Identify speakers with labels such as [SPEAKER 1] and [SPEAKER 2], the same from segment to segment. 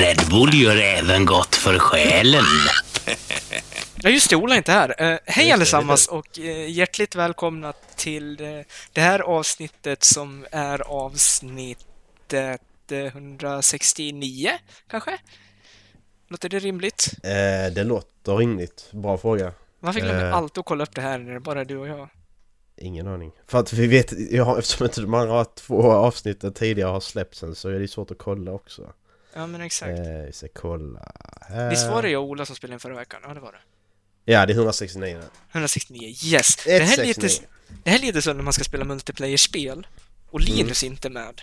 [SPEAKER 1] Red Bull gör även gott för själen.
[SPEAKER 2] Ja, just det, Ola är inte här. Eh, hej
[SPEAKER 3] det,
[SPEAKER 2] allesammans och eh, hjärtligt välkomna till eh, det här avsnittet som är avsnittet eh, 169, kanske? Låter det rimligt?
[SPEAKER 3] Eh, det låter rimligt. Bra fråga.
[SPEAKER 2] Varför glömmer
[SPEAKER 3] Eh.
[SPEAKER 2] alltid att kolla upp det här när det bara är du och jag?
[SPEAKER 3] Ingen aning. För att vi vet, jag, har- eftersom inte de andra två avsnitten tidigare har släppts än så är det svårt att kolla också.
[SPEAKER 2] Ja, men exakt.
[SPEAKER 3] Eh, vi ska kolla här.
[SPEAKER 2] Visst var det jag och Ola som spelade in förra veckan? Ja, det var det.
[SPEAKER 3] Ja, det är 169.
[SPEAKER 2] 169, yes! Det här, är lite,
[SPEAKER 3] 169.
[SPEAKER 2] det här är lite så när man ska spela multiplayer-spel och Linus inte med.
[SPEAKER 3] Mm.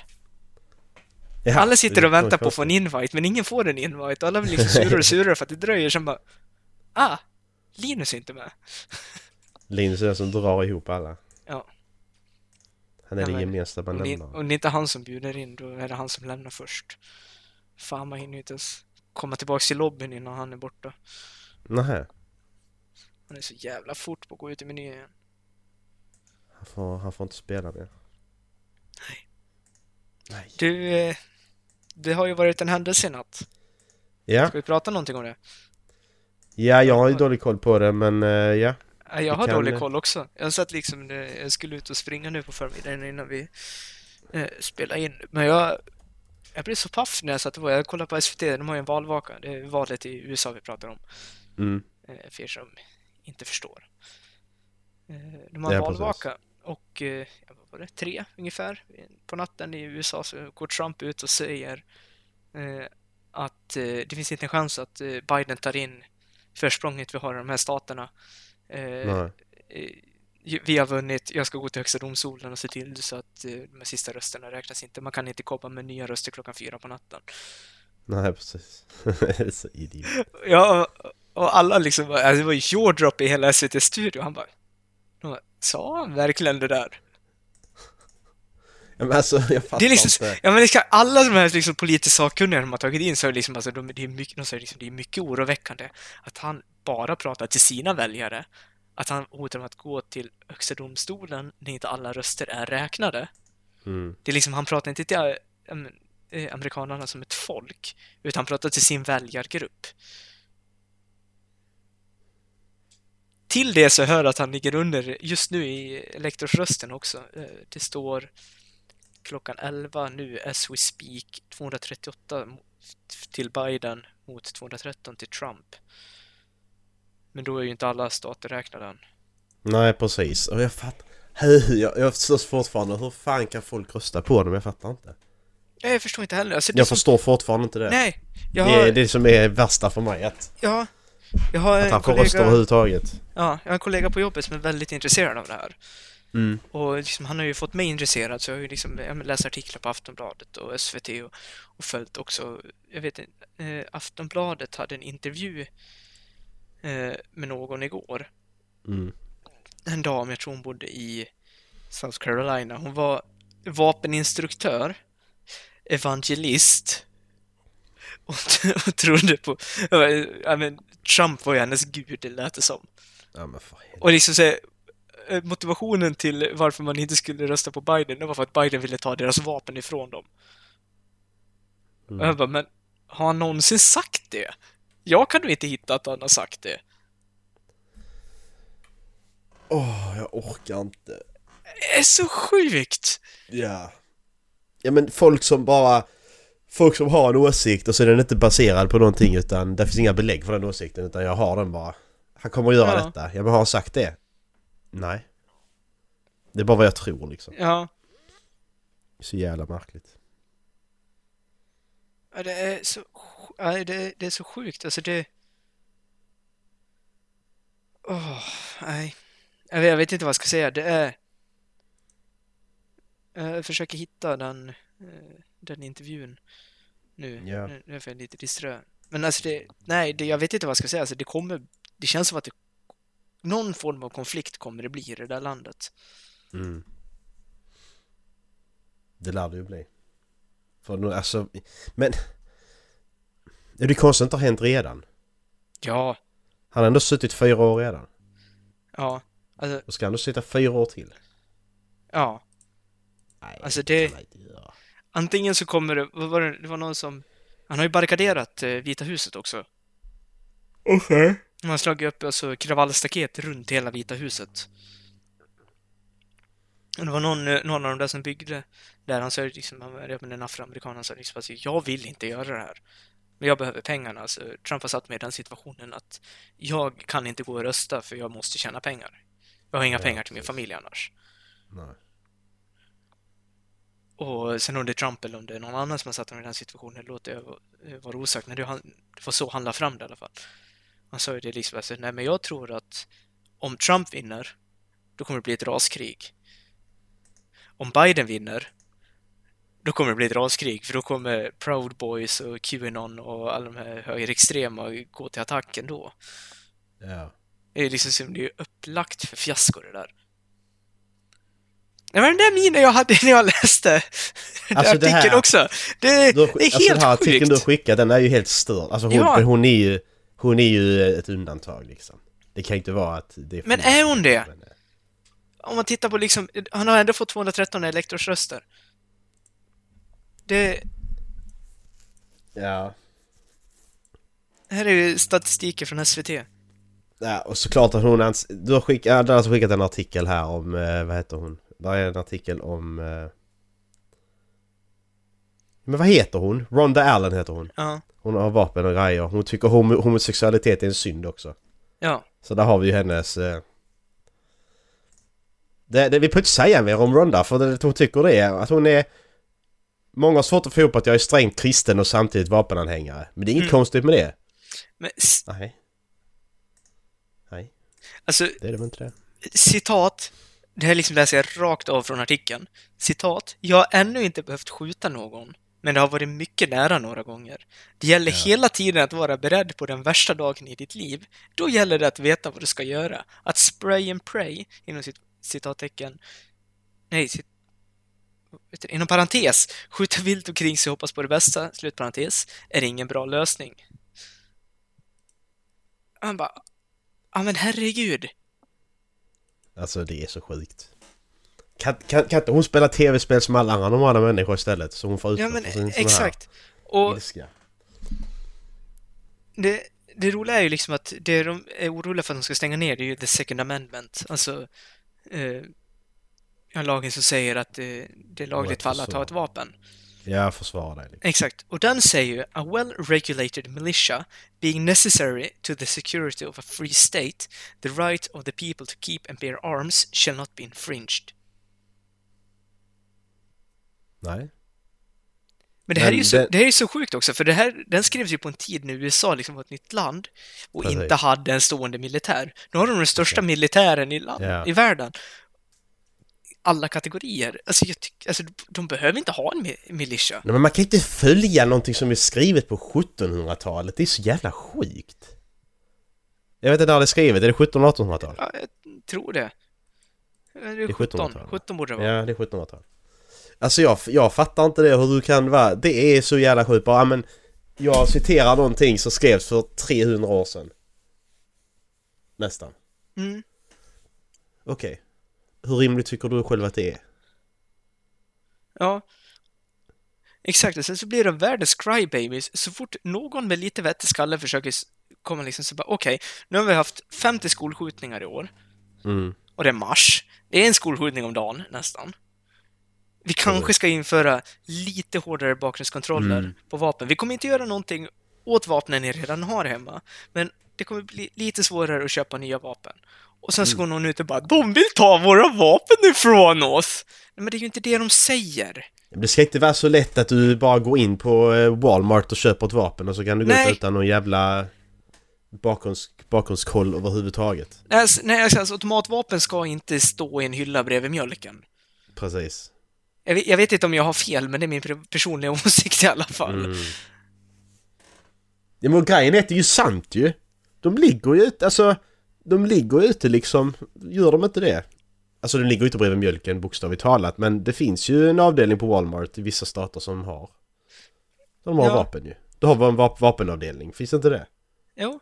[SPEAKER 3] Ja,
[SPEAKER 2] alla sitter och väntar på att få en
[SPEAKER 3] ni...
[SPEAKER 2] invite, men ingen får en invite. Och alla blir liksom surare och surare för att det dröjer. Sen bara, ah, Linus är inte med.
[SPEAKER 3] Linus är den som drar ihop alla.
[SPEAKER 2] Ja.
[SPEAKER 3] Han är
[SPEAKER 2] Ja,
[SPEAKER 3] den
[SPEAKER 2] men-
[SPEAKER 3] gemensamma
[SPEAKER 2] Om det,
[SPEAKER 3] nämnaren.
[SPEAKER 2] om det inte är han som bjuder in, då är det han som lämnar först. Fan, man hinner ju inte ens komma tillbaka till lobbyn innan han är borta.
[SPEAKER 3] Nähä.
[SPEAKER 2] Han är så jävla fort på att gå ut i menyn igen.
[SPEAKER 3] Han får, han får inte spela mer.
[SPEAKER 2] Nej.
[SPEAKER 3] Nej.
[SPEAKER 2] Du, eh, det har ju varit en händelse i natt.
[SPEAKER 3] Ja.
[SPEAKER 2] Ska vi prata någonting om det?
[SPEAKER 3] ja, jag har ju dålig koll på det men eh, ja.
[SPEAKER 2] Ja, Jag
[SPEAKER 3] Vi
[SPEAKER 2] har
[SPEAKER 3] kan-
[SPEAKER 2] dålig koll också. Jag satt liksom, eh, jag skulle ut och springa nu på förmiddagen innan vi eh, spelade in. Men jag, jag blev så paff när jag satt och var- jag kollade på SVT, de har ju en valvaka. Det är valet i USA vi pratar om,
[SPEAKER 3] Mm.
[SPEAKER 2] eh, för er som inte förstår. Eh, De har
[SPEAKER 3] Ja,
[SPEAKER 2] en
[SPEAKER 3] precis.
[SPEAKER 2] valvaka och eh, vad var det, tre ungefär på natten i USA så går Trump ut och säger eh, att eh, det finns inte en chans att eh, Biden tar in försprånget vi har i de här staterna. Eh,
[SPEAKER 3] Nej.
[SPEAKER 2] eh, vi har vunnit, jag ska gå till Högsta domstolen och se till så att eh, de här sista rösterna räknas inte. Man kan inte komma med nya röster klockan fyra på natten.
[SPEAKER 3] Nej, precis. Det är så idiot.
[SPEAKER 2] Ja, och alla liksom, bara- alltså, det var ju jaw-drop i hela SVT studio. Han bara, de bara, sa han verkligen det där?
[SPEAKER 3] Ja, Men alltså, jag fattar
[SPEAKER 2] Det är liksom,
[SPEAKER 3] inte.
[SPEAKER 2] ja men liksom, alla de här liksom politiskt sakkunniga de har tagit in så är det liksom, alltså, de, det är mycket, de säger liksom, det är mycket oroväckande att han bara pratar till sina väljare. Att han hotar med att gå till Högsta domstolen när inte alla röster är räknade.
[SPEAKER 3] Mm.
[SPEAKER 2] Det är liksom, han pratar inte till äh, äm, eh, amerikanerna som ett folk, utan han pratar till sin väljargrupp. Till det så hör jag att han ligger under just nu i elektorsrösten också. Eh, Det står klockan 11 nu, as we speak, 238 mot- till Biden mot 213 till Trump. Men då är ju inte alla stater räknade än.
[SPEAKER 3] Nej precis, och jag fattar... Hur, jag, jag förstår fortfarande hur fan kan folk rösta på dem? Jag fattar inte.
[SPEAKER 2] Nej, jag förstår inte heller. Alltså, det är
[SPEAKER 3] Jag
[SPEAKER 2] som...
[SPEAKER 3] förstår fortfarande inte det.
[SPEAKER 2] Nej, jag
[SPEAKER 3] Det är
[SPEAKER 2] har...
[SPEAKER 3] det som är värsta för mig, att,
[SPEAKER 2] Ja, jag har
[SPEAKER 3] att
[SPEAKER 2] en
[SPEAKER 3] han får rösta
[SPEAKER 2] kollega...
[SPEAKER 3] överhuvudtaget.
[SPEAKER 2] Ja, jag har en kollega på jobbet som är väldigt intresserad av det här. Och liksom, han har ju fått mig intresserad så jag har ju liksom, jag läst artiklar på Aftonbladet och SVT och, och följt också. Jag vet inte, eh, Aftonbladet hade en intervju eh, med någon igår.
[SPEAKER 3] Mm.
[SPEAKER 2] En dam, jag tror hon bodde i South Carolina. Hon var vapeninstruktör, evangelist och, och trodde på... Ja, men Trump var ju hennes gud, det lät det som.
[SPEAKER 3] Ja men för helvete.
[SPEAKER 2] Och liksom så här, eh, motivationen till varför man inte skulle rösta på Biden, det var för att Biden ville ta deras vapen ifrån dem.
[SPEAKER 3] Mm.
[SPEAKER 2] Och jag bara, men har han någonsin sagt det? Jag kan nog inte hitta att han har sagt det.
[SPEAKER 3] Åh, jag orkar inte.
[SPEAKER 2] Det är så sjukt!
[SPEAKER 3] Ja. Ja men folk som bara... Folk som har en åsikt och så är den inte baserad på någonting utan det finns inga belägg för den åsikten utan jag har den bara. Han kommer att göra
[SPEAKER 2] Ja.
[SPEAKER 3] detta. Ja men har han sagt det? Nej. Det är bara vad jag tror liksom.
[SPEAKER 2] Ja,
[SPEAKER 3] Så jävla märkligt.
[SPEAKER 2] ja, det är så, sj- ja, det, det är så sjukt. Alltså det... Åh, nej. Jag vet, jag vet inte vad jag ska säga. Det är... Jag försöker hitta den, eh, den intervjun nu.
[SPEAKER 3] Ja.
[SPEAKER 2] Nu, nu är jag lite disträ. Men alltså det, nej, det, jag vet inte vad jag ska säga. Alltså det kommer, det känns som att det, någon form av konflikt kommer det bli i det där landet.
[SPEAKER 3] Mm. Det lär det ju bli. För nu, alltså, men... Ja, Det är konstigt att det inte har hänt redan.
[SPEAKER 2] Ja,
[SPEAKER 3] Han har ändå suttit fyra år redan.
[SPEAKER 2] ja. Alltså,
[SPEAKER 3] Och ska han då sitta fyra år till?
[SPEAKER 2] ja.
[SPEAKER 3] Nej,
[SPEAKER 2] Alltså,
[SPEAKER 3] kan
[SPEAKER 2] det-
[SPEAKER 3] man inte göra.
[SPEAKER 2] Antingen så kommer det, vad var det, det var någon som, han har ju barrikaderat eh, Vita huset också.
[SPEAKER 1] Okej.
[SPEAKER 2] Han har slagit upp alltså, kravallstaket runt hela Vita huset. Och Det var någon, eh, någon av de där som byggde där, han sa ju liksom, han var men en afroamerikan, han sa liksom att jag vill inte göra det här. Men jag behöver pengarna, så Trump har satt mig i den situationen att jag kan inte gå och rösta för jag måste tjäna pengar. Jag har inga
[SPEAKER 3] Ja,
[SPEAKER 2] pengar till min
[SPEAKER 3] precis.
[SPEAKER 2] familj annars.
[SPEAKER 3] Nej.
[SPEAKER 2] Och sen om det är Trump eller om det är någon annan som har satt honom i den situationen låter jag eh, vara osagt. Men det, var han- det var så han la fram det i alla fall. Han sa ju det liksom, alltså, nej men jag tror att om Trump vinner, då kommer det bli ett raskrig. Om Biden vinner, då kommer det bli ett raskrig, för då kommer Proud Boys och Qanon och alla de här högerextrema gå till attack ändå.
[SPEAKER 3] Ja.
[SPEAKER 2] Det är liksom som det är upplagt för fiasko det där. Det var den där minen jag hade när jag läste den
[SPEAKER 3] Alltså, det
[SPEAKER 2] artikeln
[SPEAKER 3] här-
[SPEAKER 2] också. Det,
[SPEAKER 3] Du har,
[SPEAKER 2] det är
[SPEAKER 3] alltså den
[SPEAKER 2] helt
[SPEAKER 3] här artikeln
[SPEAKER 2] sjukt.
[SPEAKER 3] du har skickat, den är ju helt störd. Alltså hon,
[SPEAKER 2] Ja.
[SPEAKER 3] men hon är ju... Hon är ju ett undantag liksom. Det kan ju inte vara att det är
[SPEAKER 2] Men
[SPEAKER 3] fler
[SPEAKER 2] är
[SPEAKER 3] som-
[SPEAKER 2] hon det?
[SPEAKER 3] Men, eh,
[SPEAKER 2] Om man tittar på liksom, han har ändå fått 213 elektorsröster. Det
[SPEAKER 3] Ja.
[SPEAKER 2] här är ju statistiken från SVT.
[SPEAKER 3] Ja, och såklart att hon ans- Du har skickat, ja, du har alltså skickat en artikel här om, eh, vad heter hon? Där är en artikel om... Eh... Men vad heter hon? Rhonda Allen heter hon.
[SPEAKER 2] Ja,
[SPEAKER 3] Hon har vapen och grejer. Hon tycker homo- homosexualitet är en synd också.
[SPEAKER 2] ja,
[SPEAKER 3] Så där har vi ju hennes... Eh... Det, det, vi får inte säga mer om Rhonda för det, hon tycker det är att hon är... Många har svårt att få ihop att jag är strängt kristen och samtidigt vapenanhängare. Men det är inget
[SPEAKER 2] Mm.
[SPEAKER 3] konstigt med det.
[SPEAKER 2] men s-
[SPEAKER 3] Nej. Nej,
[SPEAKER 2] alltså
[SPEAKER 3] det är det väl inte det.
[SPEAKER 2] citat, det här liksom läser jag rakt av från artikeln. Citat, jag har ännu inte behövt skjuta någon, men det har varit mycket nära några gånger. Det gäller
[SPEAKER 3] Ja.
[SPEAKER 2] hela tiden att vara beredd på den värsta dagen i ditt liv. Då gäller det att veta vad du ska göra. Att spray and pray, inom cit- citattecken, nej, cit- vet du, inom parentes, skjuta vilt omkring sig och hoppas på det bästa, slutparentes, är ingen bra lösning. Han bara, ja men herregud.
[SPEAKER 3] Alltså det är så sjukt. Kan, kan, kan inte hon spela tv-spel som alla andra normala människor istället? Så hon får
[SPEAKER 2] Ja
[SPEAKER 3] utlopp
[SPEAKER 2] men
[SPEAKER 3] för sin sån här
[SPEAKER 2] exakt. Och
[SPEAKER 3] ilska.
[SPEAKER 2] det, det roliga är ju liksom att det de är oroliga för att de ska stänga ner det är ju the second amendment. Alltså eh, ja, lagen som säger att eh, det är lagligt för alla att ha ett vapen.
[SPEAKER 3] Ja, försvara dig. Liksom.
[SPEAKER 2] Exakt. Och den säger ju A well regulated militia being necessary to the security of a free state the right of the people to keep and bear arms shall not be infringed.
[SPEAKER 3] Nej.
[SPEAKER 2] Men det här,
[SPEAKER 3] Men
[SPEAKER 2] är ju så,
[SPEAKER 3] det-
[SPEAKER 2] det... här är ju så sjukt också, för det här, den skrevs ju på en tid när USA liksom var ett nytt land och
[SPEAKER 3] Precis.
[SPEAKER 2] inte hade en stående militär. Nu har de den största militären i, land,
[SPEAKER 3] Ja.
[SPEAKER 2] i världen. Alla kategorier. Alltså, jag tycker, alltså, de behöver inte ha en mi- militia.
[SPEAKER 3] Nej men man kan inte följa någonting som är skrivet på 1700-talet. Det är så jävla sjukt. Jag vet inte när det är skrivet. Är det 1700-1800-tal?
[SPEAKER 2] Ja, jag tror det. Det är 17,
[SPEAKER 3] 1700-talet.
[SPEAKER 2] 17 borde det vara.
[SPEAKER 3] Ja, det är 1700-tal. Alltså jag, jag fattar inte det hur du kan vara... Det är så jävla sjukt bara, ja, men... Jag citerar någonting som skrevs för 300 år sedan. Nästan.
[SPEAKER 2] Mm.
[SPEAKER 3] Okej. Hur rimligt tycker du själv att det är?
[SPEAKER 2] Ja. Exakt, och sen så blir de världens crybabies. Så fort någon med lite vett i skallen försöker s- komma liksom så bara okej, nu har vi haft 50 skolskjutningar i år.
[SPEAKER 3] Mm.
[SPEAKER 2] och det är mars. Det är en skolskjutning om dagen, nästan. Vi kanske ska införa lite hårdare bakgrundskontroller
[SPEAKER 3] Mm.
[SPEAKER 2] på vapen. Vi kommer inte göra någonting åt vapnen ni redan har hemma, men det kommer bli lite svårare att köpa nya vapen. Och sen
[SPEAKER 3] Mm.
[SPEAKER 2] så går någon ut och bara ”De vill ta våra vapen ifrån oss!” Nej, men det är ju inte det de säger.
[SPEAKER 3] Men Det ska inte vara så lätt att du bara går in på eh, Walmart och köper ett vapen och så kan du gå
[SPEAKER 2] Nej.
[SPEAKER 3] ut utan någon jävla bakgrunds, bakgrundskoll överhuvudtaget.
[SPEAKER 2] Nej, Alltså, nej, alltså automatvapen ska inte stå i en hylla bredvid mjölken.
[SPEAKER 3] Precis.
[SPEAKER 2] Jag vet, jag vet inte om jag har fel, men det är min pre- personliga åsikt i alla fall.
[SPEAKER 3] Mm. Ja, men grejen är att det är ju sant ju. De ligger ju ute, alltså. De ligger ju ute liksom. Gör de inte det? Alltså de ligger ju inte bredvid mjölken bokstavligt talat men det finns ju en avdelning på Walmart i vissa stater som har. De har
[SPEAKER 2] Ja.
[SPEAKER 3] vapen ju. De har en vap- vapenavdelning, finns inte det?
[SPEAKER 2] Jo,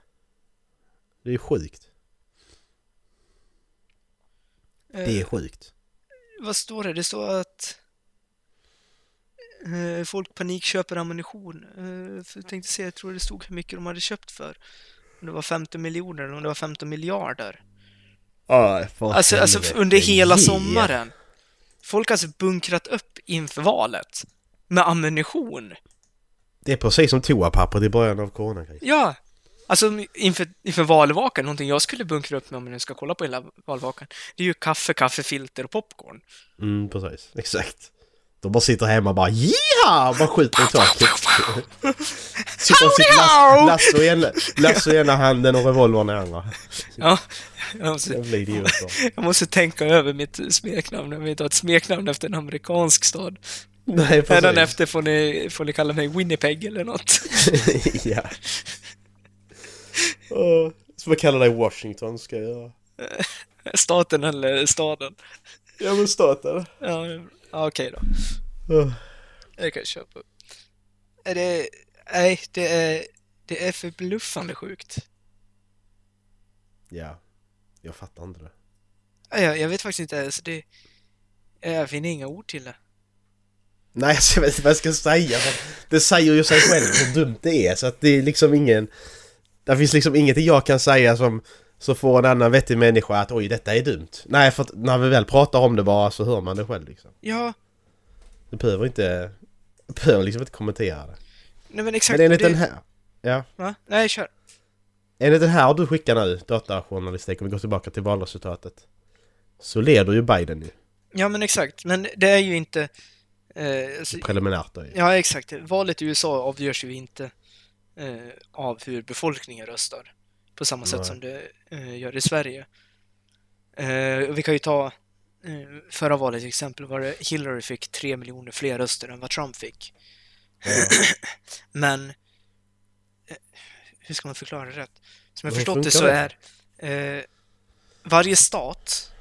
[SPEAKER 3] Det är sjukt. Det är
[SPEAKER 2] Eh.
[SPEAKER 3] sjukt.
[SPEAKER 2] Vad står det? Det står att eh, folk panikköper ammunition. Eh, för jag tänkte se, jag tror det stod hur mycket de hade köpt för. Om det var 50 miljoner eller om det var 15 miljarder.
[SPEAKER 3] Ah, fan,
[SPEAKER 2] Alltså, alltså under hela sommaren. Folk har alltså bunkrat upp inför valet med ammunition.
[SPEAKER 3] Det är precis som toapappret i början av coronakrisen.
[SPEAKER 2] Ja! Alltså inför, inför valvakan, någonting jag skulle bunkra upp med om jag nu ska kolla på hela valvakan, det är ju kaffe, kaffefilter och popcorn.
[SPEAKER 3] Mm, precis. Exakt. De bara sitter hemma och bara ja! Bara skjuter i taket. Sitter och sitter
[SPEAKER 2] Howdy-ho!
[SPEAKER 3] lass, lasso, i ena, lasso i ena handen och revolvern i andra.
[SPEAKER 2] Ja, jag måste,
[SPEAKER 3] Jävla idioter.
[SPEAKER 2] jag måste tänka över mitt smeknamn, jag vill inte ha ett smeknamn efter en amerikansk stad.
[SPEAKER 3] Nej, precis.
[SPEAKER 2] Hädanefter får ni, får ni kalla mig Winnipeg eller något.
[SPEAKER 3] ja. Oh, så vad kallar dig Washington ska jag göra?
[SPEAKER 2] Staten eller staden.
[SPEAKER 3] Ja men staten.
[SPEAKER 2] Ja, ja, okej då.
[SPEAKER 3] Oh.
[SPEAKER 2] Det kan jag köpa. Är Det, nej, det är, det är förbluffande sjukt.
[SPEAKER 3] Ja. Jag fattar inte det.
[SPEAKER 2] Ja, Jag, jag vet faktiskt inte ens. Det, ja, jag finner inga ord till det.
[SPEAKER 3] Nej, alltså, jag vet inte vad jag ska säga. men Det säger ju sig själv hur dumt det är. Så att det är liksom ingen... Det finns liksom ingenting jag kan säga som, som får en annan vettig människa att oj, detta är dumt. Nej, för att när vi väl pratar om det bara så hör man det själv liksom.
[SPEAKER 2] Ja,
[SPEAKER 3] Du behöver inte... Du behöver liksom inte kommentera det.
[SPEAKER 2] nej men exakt.
[SPEAKER 3] Men enligt
[SPEAKER 2] det,
[SPEAKER 3] den här... Ja.
[SPEAKER 2] Va? Nej, kör.
[SPEAKER 3] Enligt den här du skickar nu, datajournalistik, om vi går tillbaka till valresultatet. Så leder ju Biden ju.
[SPEAKER 2] Ja, men exakt. Men det är ju inte... Eh, alltså,
[SPEAKER 3] Preliminärt då ju.
[SPEAKER 2] ja, exakt. Valet i USA avgörs ju inte eh, av hur befolkningen röstar. På samma sätt
[SPEAKER 3] Nej.
[SPEAKER 2] som det eh, gör i Sverige. Eh, och vi kan ju ta eh, förra valet till exempel. Var det Hillary fick tre miljoner fler röster än vad Trump fick. Men eh, hur ska man förklara det rätt? Som jag
[SPEAKER 3] Hur
[SPEAKER 2] förstått det så
[SPEAKER 3] funkar
[SPEAKER 2] är eh, varje stat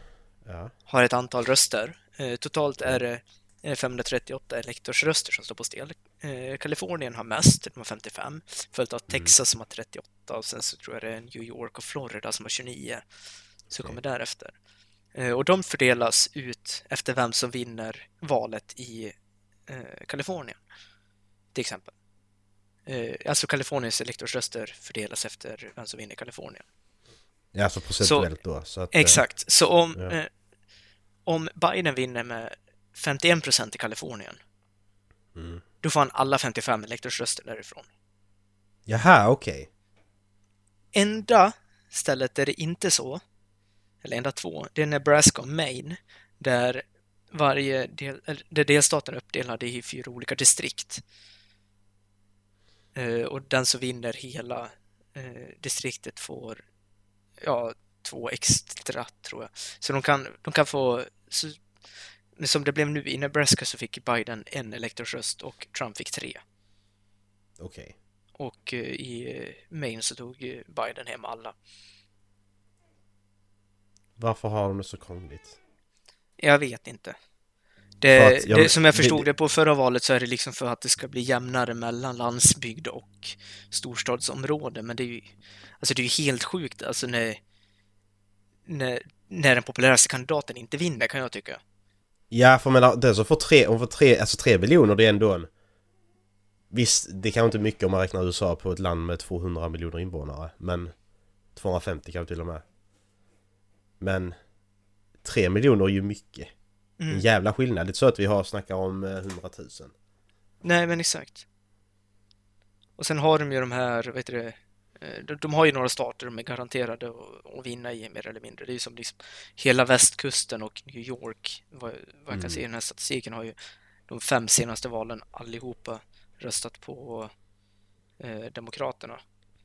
[SPEAKER 3] Ja.
[SPEAKER 2] har ett antal röster. Eh, totalt är det eh, 538 elektorsröster som står på spel. Eh, Kalifornien har mest, de har 55, följt av Texas som har 38 och sen så tror jag det är New York och Florida som har 29. Så kommer därefter. Eh, och de fördelas ut efter vem som vinner valet i eh, Kalifornien. Till exempel. Eh, alltså Kaliforniens elektorsröster fördelas efter vem som vinner Kalifornien.
[SPEAKER 3] Ja, så procentuellt då. Så att, eh,
[SPEAKER 2] Exakt, så om,
[SPEAKER 3] Ja.
[SPEAKER 2] eh, om Biden vinner med 51 procent i Kalifornien,
[SPEAKER 3] Mm.
[SPEAKER 2] då får han alla 55 elektorsröster därifrån.
[SPEAKER 3] eh, Jaha, okej.
[SPEAKER 2] Enda stället där det inte är så, eller enda två, det är Nebraska och Maine, där varje del, eller där delstaten är uppdelad i fyra olika distrikt. Eh, och den som vinner hela eh, distriktet får ja, två extra, tror jag. Så de kan, de kan få... Så, men som det blev nu i Nebraska så fick Biden en elektorsröst och Trump fick tre.
[SPEAKER 3] Okej.
[SPEAKER 2] Och eh, i eh, Maine så tog eh, Biden hem alla.
[SPEAKER 3] Varför har de det så krångligt?
[SPEAKER 2] Jag vet inte.
[SPEAKER 3] För
[SPEAKER 2] Det,
[SPEAKER 3] att jag-
[SPEAKER 2] det, som jag
[SPEAKER 3] det-
[SPEAKER 2] förstod det,
[SPEAKER 3] det-
[SPEAKER 2] på förra valet så är det liksom för att det ska bli jämnare mellan landsbygd och storstadsområden. Men det är ju, alltså det är ju helt sjukt alltså när, när, när den populäraste kandidaten inte vinner kan jag tycka.
[SPEAKER 3] Ja, för jag menar, den som får tre, om får tre, alltså tre miljoner, det är ändå en... Visst, det kan inte mycket om man räknar USA på ett land med 200 miljoner invånare, men 250 kanske till och med. Men tre miljoner är ju mycket. En jävla skillnad. Det är så att vi har snackar om eh, 100 000.
[SPEAKER 2] Nej, men exakt. Och sen har de ju de här, vad heter det, eh, de, de har ju några stater de är garanterade att, att vinna i mer eller mindre. Det är ju som liksom hela västkusten och New York, vad, vad jag kan se i den här statistiken, har ju de fem senaste valen allihopa röstat på eh, Demokraterna.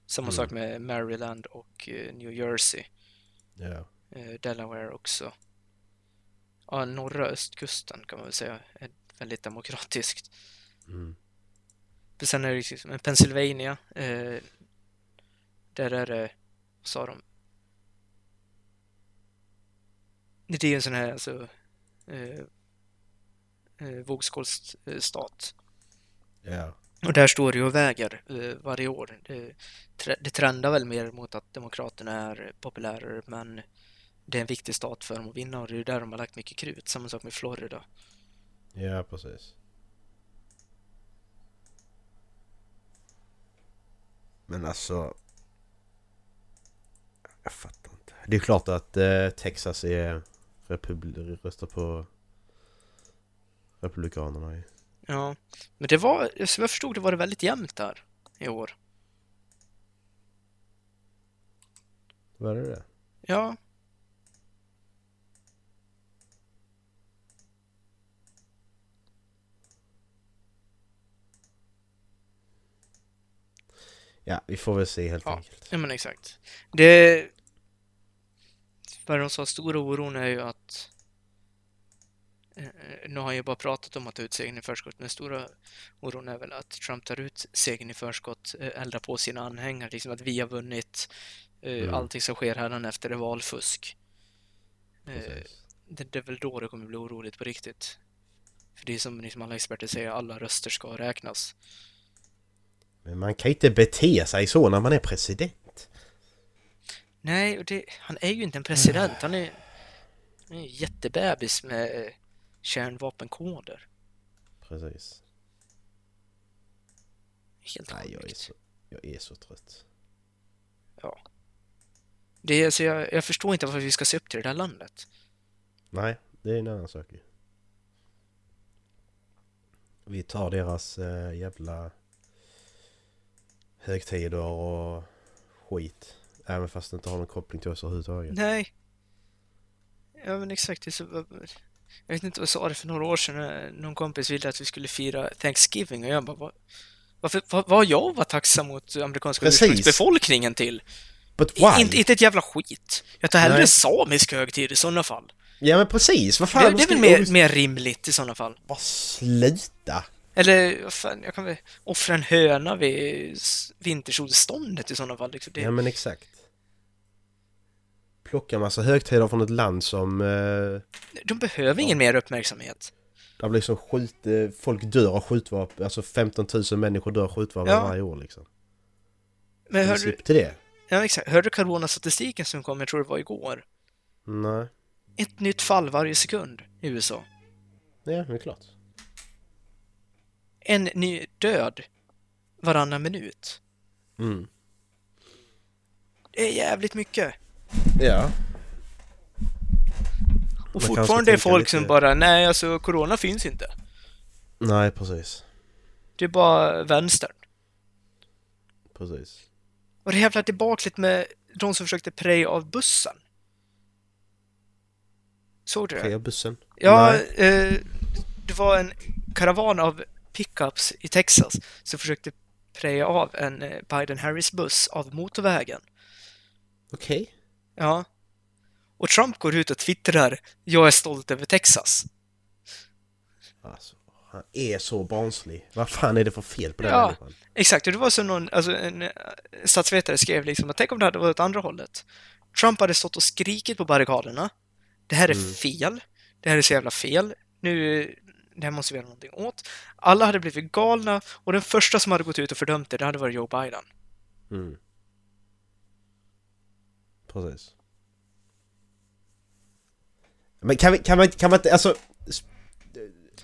[SPEAKER 2] Samma sak med Maryland och eh, New Jersey,
[SPEAKER 3] Ja.
[SPEAKER 2] eh, Delaware också. Ja, norra östkusten kan man väl säga är väldigt demokratiskt.
[SPEAKER 3] Mm.
[SPEAKER 2] Men Sen är det liksom men Pennsylvania. Eh, där är det, vad sa de? Det är ju en sån här alltså, eh, eh, vågskålsstat.
[SPEAKER 3] Ja.
[SPEAKER 2] Och där står det ju och väger eh, varje år. Det, tre- det trendar väl mer mot att Demokraterna är populärare, men det är en viktig stat för dem att vinna och det är ju där de har lagt mycket krut. Samma sak med Florida.
[SPEAKER 3] Ja, precis. Men alltså... Jag fattar inte. Det är klart att eh, Texas är... Republi- röstar på... Republikanerna ju.
[SPEAKER 2] Ja, men det var, som jag förstod det var det väldigt jämnt där i år.
[SPEAKER 3] Vad är det?
[SPEAKER 2] Ja,
[SPEAKER 3] Ja, vi får väl se helt
[SPEAKER 2] Ja.
[SPEAKER 3] enkelt.
[SPEAKER 2] ja men exakt. Det... Vad de sa, stora oron är ju att... eh, Nu har jag ju bara pratat om att ta ut segern i förskott, men stora oron är väl att Trump tar ut segern i förskott, eh, eldar på sina anhängare, liksom att vi har vunnit, eh,
[SPEAKER 3] Mm.
[SPEAKER 2] allting som sker hädanefter är valfusk. Eh,
[SPEAKER 3] Precis.
[SPEAKER 2] det, det är väl då det kommer bli oroligt på riktigt. För det är som liksom alla experter säger, alla röster ska räknas.
[SPEAKER 3] Men man kan ju inte bete sig så när man är president.
[SPEAKER 2] Nej, och det, han är ju inte
[SPEAKER 3] Mm.
[SPEAKER 2] en president. Han är, han är ju jättebebis med eh, kärnvapenkoder.
[SPEAKER 3] Precis.
[SPEAKER 2] Helt
[SPEAKER 3] Nej, jag är
[SPEAKER 2] sjukt.
[SPEAKER 3] så, jag är så trött.
[SPEAKER 2] Det är, så jag, jag förstår inte varför vi ska se upp till det där landet.
[SPEAKER 3] Nej, det är en annan sak ju. Vi tar deras eh, jävla högtider och skit. Även fast det inte har någon koppling till oss överhuvudtaget.
[SPEAKER 2] Nej. Ja, men exakt. Det är så, jag vet inte vad jag sa det för några år sedan. när Någon kompis ville att vi skulle fira Thanksgiving och jag bara, vad, varför, vad, vad har jag var tacksam mot amerikanska
[SPEAKER 3] Precis.
[SPEAKER 2] ursprungsbefolkningen till?
[SPEAKER 3] But
[SPEAKER 2] I-
[SPEAKER 3] why?
[SPEAKER 2] Inte, inte ett jävla skit. Jag tar hellre
[SPEAKER 3] Nej.
[SPEAKER 2] samisk högtid i sådana fall.
[SPEAKER 3] Ja men precis, vad fan!
[SPEAKER 2] det,
[SPEAKER 3] vad
[SPEAKER 2] det är
[SPEAKER 3] ska
[SPEAKER 2] väl
[SPEAKER 3] vi-
[SPEAKER 2] mer, mer rimligt i sådana fall.
[SPEAKER 3] Bara sluta!
[SPEAKER 2] Eller vad fan, jag kan väl offra en höna vid s- vintersolståndet i sådana fall. Liksom. Det,
[SPEAKER 3] Ja men exakt. Plocka massa högtider från ett land som... Eh,
[SPEAKER 2] De behöver ingen mer uppmärksamhet.
[SPEAKER 3] där blir liksom skjut... Eh, folk dör av skjutvapen. Alltså 15 000 människor dör av skjutvapen
[SPEAKER 2] Ja.
[SPEAKER 3] varje år liksom.
[SPEAKER 2] Men
[SPEAKER 3] Men
[SPEAKER 2] hörde, du-
[SPEAKER 3] Slipp till det.
[SPEAKER 2] ja, exakt, hörde du coronastatistiken som kom, jag tror det var igår?
[SPEAKER 3] Nej.
[SPEAKER 2] Ett nytt fall varje sekund i USA.
[SPEAKER 3] Ja, det är klart.
[SPEAKER 2] En ny död varannan minut.
[SPEAKER 3] Mm.
[SPEAKER 2] Det är jävligt mycket.
[SPEAKER 3] Ja.
[SPEAKER 2] Och
[SPEAKER 3] kanske ska
[SPEAKER 2] fortfarande är
[SPEAKER 3] tänka
[SPEAKER 2] folk
[SPEAKER 3] lite-
[SPEAKER 2] som bara, nej alltså corona finns inte.
[SPEAKER 3] Nej, precis.
[SPEAKER 2] Det är bara vänstern.
[SPEAKER 3] Precis.
[SPEAKER 2] Och det jävla debaclet med de som försökte preja av bussen. Såg du det?
[SPEAKER 3] Fria bussen.
[SPEAKER 2] Ja,
[SPEAKER 3] Nej.
[SPEAKER 2] eh, det var en karavan av pickups i Texas som försökte preja av en eh, Biden-Harris-buss av motorvägen.
[SPEAKER 3] Okej.
[SPEAKER 2] Ja. Och Trump går ut och twittrar “Jag är stolt över Texas”.
[SPEAKER 3] Alltså, han är så barnslig. Vad fan är det för fel på den
[SPEAKER 2] Ja.
[SPEAKER 3] människan?
[SPEAKER 2] Exakt, och det var som någon, alltså en eh, statsvetare skrev liksom att tänk om det hade varit åt andra hållet. Trump hade stått och skrikit på barrikaderna. Det här är
[SPEAKER 3] Mm.
[SPEAKER 2] fel. Det här är så jävla fel. Nu, det här måste vi göra någonting åt. Alla hade blivit galna och den första som hade gått ut och fördömt det, det hade varit Joe Biden.
[SPEAKER 3] Mm. Precis. Men kan vi, kan man, kan man inte, alltså... s-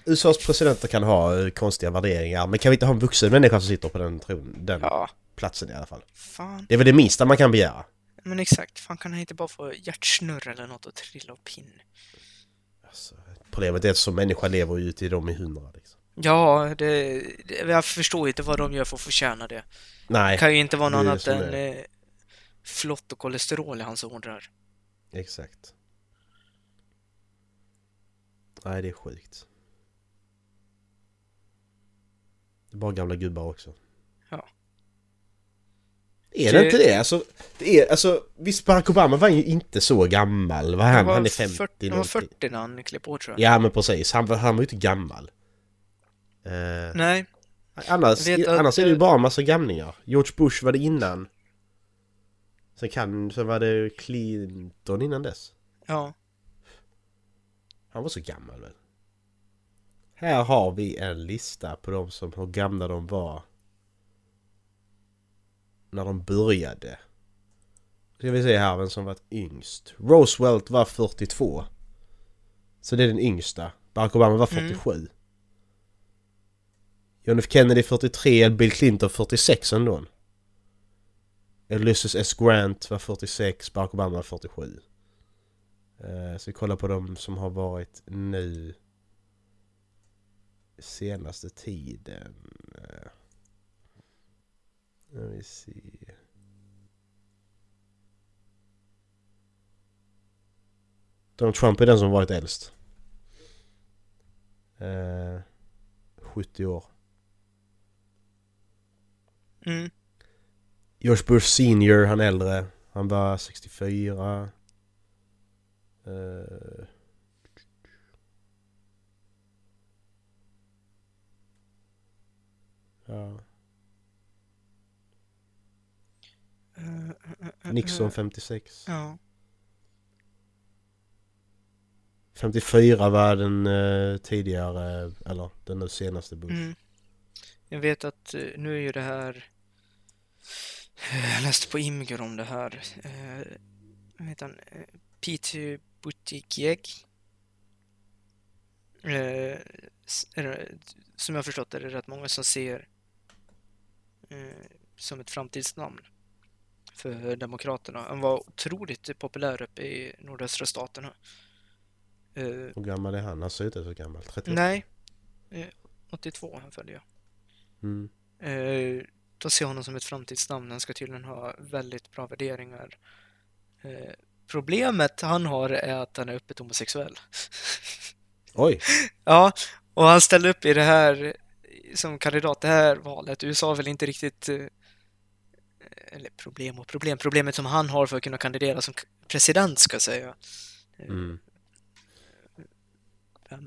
[SPEAKER 3] USAs presidenter kan ha eh, konstiga värderingar, men kan vi inte ha en vuxen människa som sitter på den, tron, den
[SPEAKER 2] Ja,
[SPEAKER 3] platsen i alla fall?
[SPEAKER 2] fan.
[SPEAKER 3] Det är väl det minsta man kan begära?
[SPEAKER 2] Men exakt, fan kan han inte bara få hjärtsnurr eller något och trilla av pinn?
[SPEAKER 3] Alltså, problemet är att som människa lever ju till de i hundra liksom.
[SPEAKER 2] Ja, det, det, jag förstår inte vad de gör för att förtjäna det.
[SPEAKER 3] Nej,
[SPEAKER 2] kan ju inte vara något
[SPEAKER 3] det är
[SPEAKER 2] annat
[SPEAKER 3] som
[SPEAKER 2] än
[SPEAKER 3] det
[SPEAKER 2] eh, flott och kolesterol i hans ådror.
[SPEAKER 3] exakt. Nej, det är sjukt. Det är bara gamla gubbar också.
[SPEAKER 2] Ja.
[SPEAKER 3] Är
[SPEAKER 2] Det-
[SPEAKER 3] det inte det? Alltså, det är, alltså, visst Barack Obama var ju inte så gammal, var han?
[SPEAKER 2] var
[SPEAKER 3] han är 50
[SPEAKER 2] 40, Han var
[SPEAKER 3] någonting.
[SPEAKER 2] 40 när han klev på tror jag.
[SPEAKER 3] Ja men precis, han, var- han var ju inte gammal. Eh,
[SPEAKER 2] Nej,
[SPEAKER 3] annars
[SPEAKER 2] jag vet att-
[SPEAKER 3] annars är det ju bara en massa gamlingar. George Bush var det innan. Sen, kan, sen var det Clinton innan dess.
[SPEAKER 2] ja.
[SPEAKER 3] Han var så gammal väl? Här har vi en lista på de som, hur gamla de var. När de började. Ska vi se här vem som varit yngst. Roosevelt var 42. Så det är den yngsta. Barack Obama var 47. John F Kennedy 43, Bill Clinton 46 ändå. Ulysses S. Grant var 46, Barack Obama var 47. Eh, Så vi kollar på de som har varit nu senaste tiden. Eh, Let me see. Donald Trump är den som varit äldst. Eh, 70 år.
[SPEAKER 2] Mm.
[SPEAKER 3] George Bush senior, han är äldre. Han var 64. Eh, Ja.
[SPEAKER 2] Eh, eh, eh,
[SPEAKER 3] Nixon
[SPEAKER 2] eh,
[SPEAKER 3] 56.
[SPEAKER 2] Ja.
[SPEAKER 3] 54 var den eh, tidigare, eller den nu senaste Bush.
[SPEAKER 2] Mm. Jag vet att eh, nu är ju det här... eh, Jag läste på Imgur om det här. Eh, Vad heter han? Eh, Peter Buttigieg. Eh, s- är det- Som jag har förstått är det rätt många som ser eh, som ett framtidsnamn för Demokraterna. Han var otroligt populär uppe i nordöstra staterna. Eh,
[SPEAKER 3] Hur gammal är han? Han ser inte så gammal. 38.
[SPEAKER 2] Nej. Eh, 82 han följer jag.
[SPEAKER 3] Mm.
[SPEAKER 2] Eh, då ser jag honom som ett framtidsnamn. Han ska tydligen ha väldigt bra värderingar. Eh, problemet han har är att han är öppet homosexuell.
[SPEAKER 3] Oj!
[SPEAKER 2] Ja, och han ställde upp i det här som kandidat det här valet. USA har väl inte riktigt eh, eller problem och problem. Problemet som han har för att kunna kandidera som k- president ska jag säga. Eh,
[SPEAKER 3] Mm.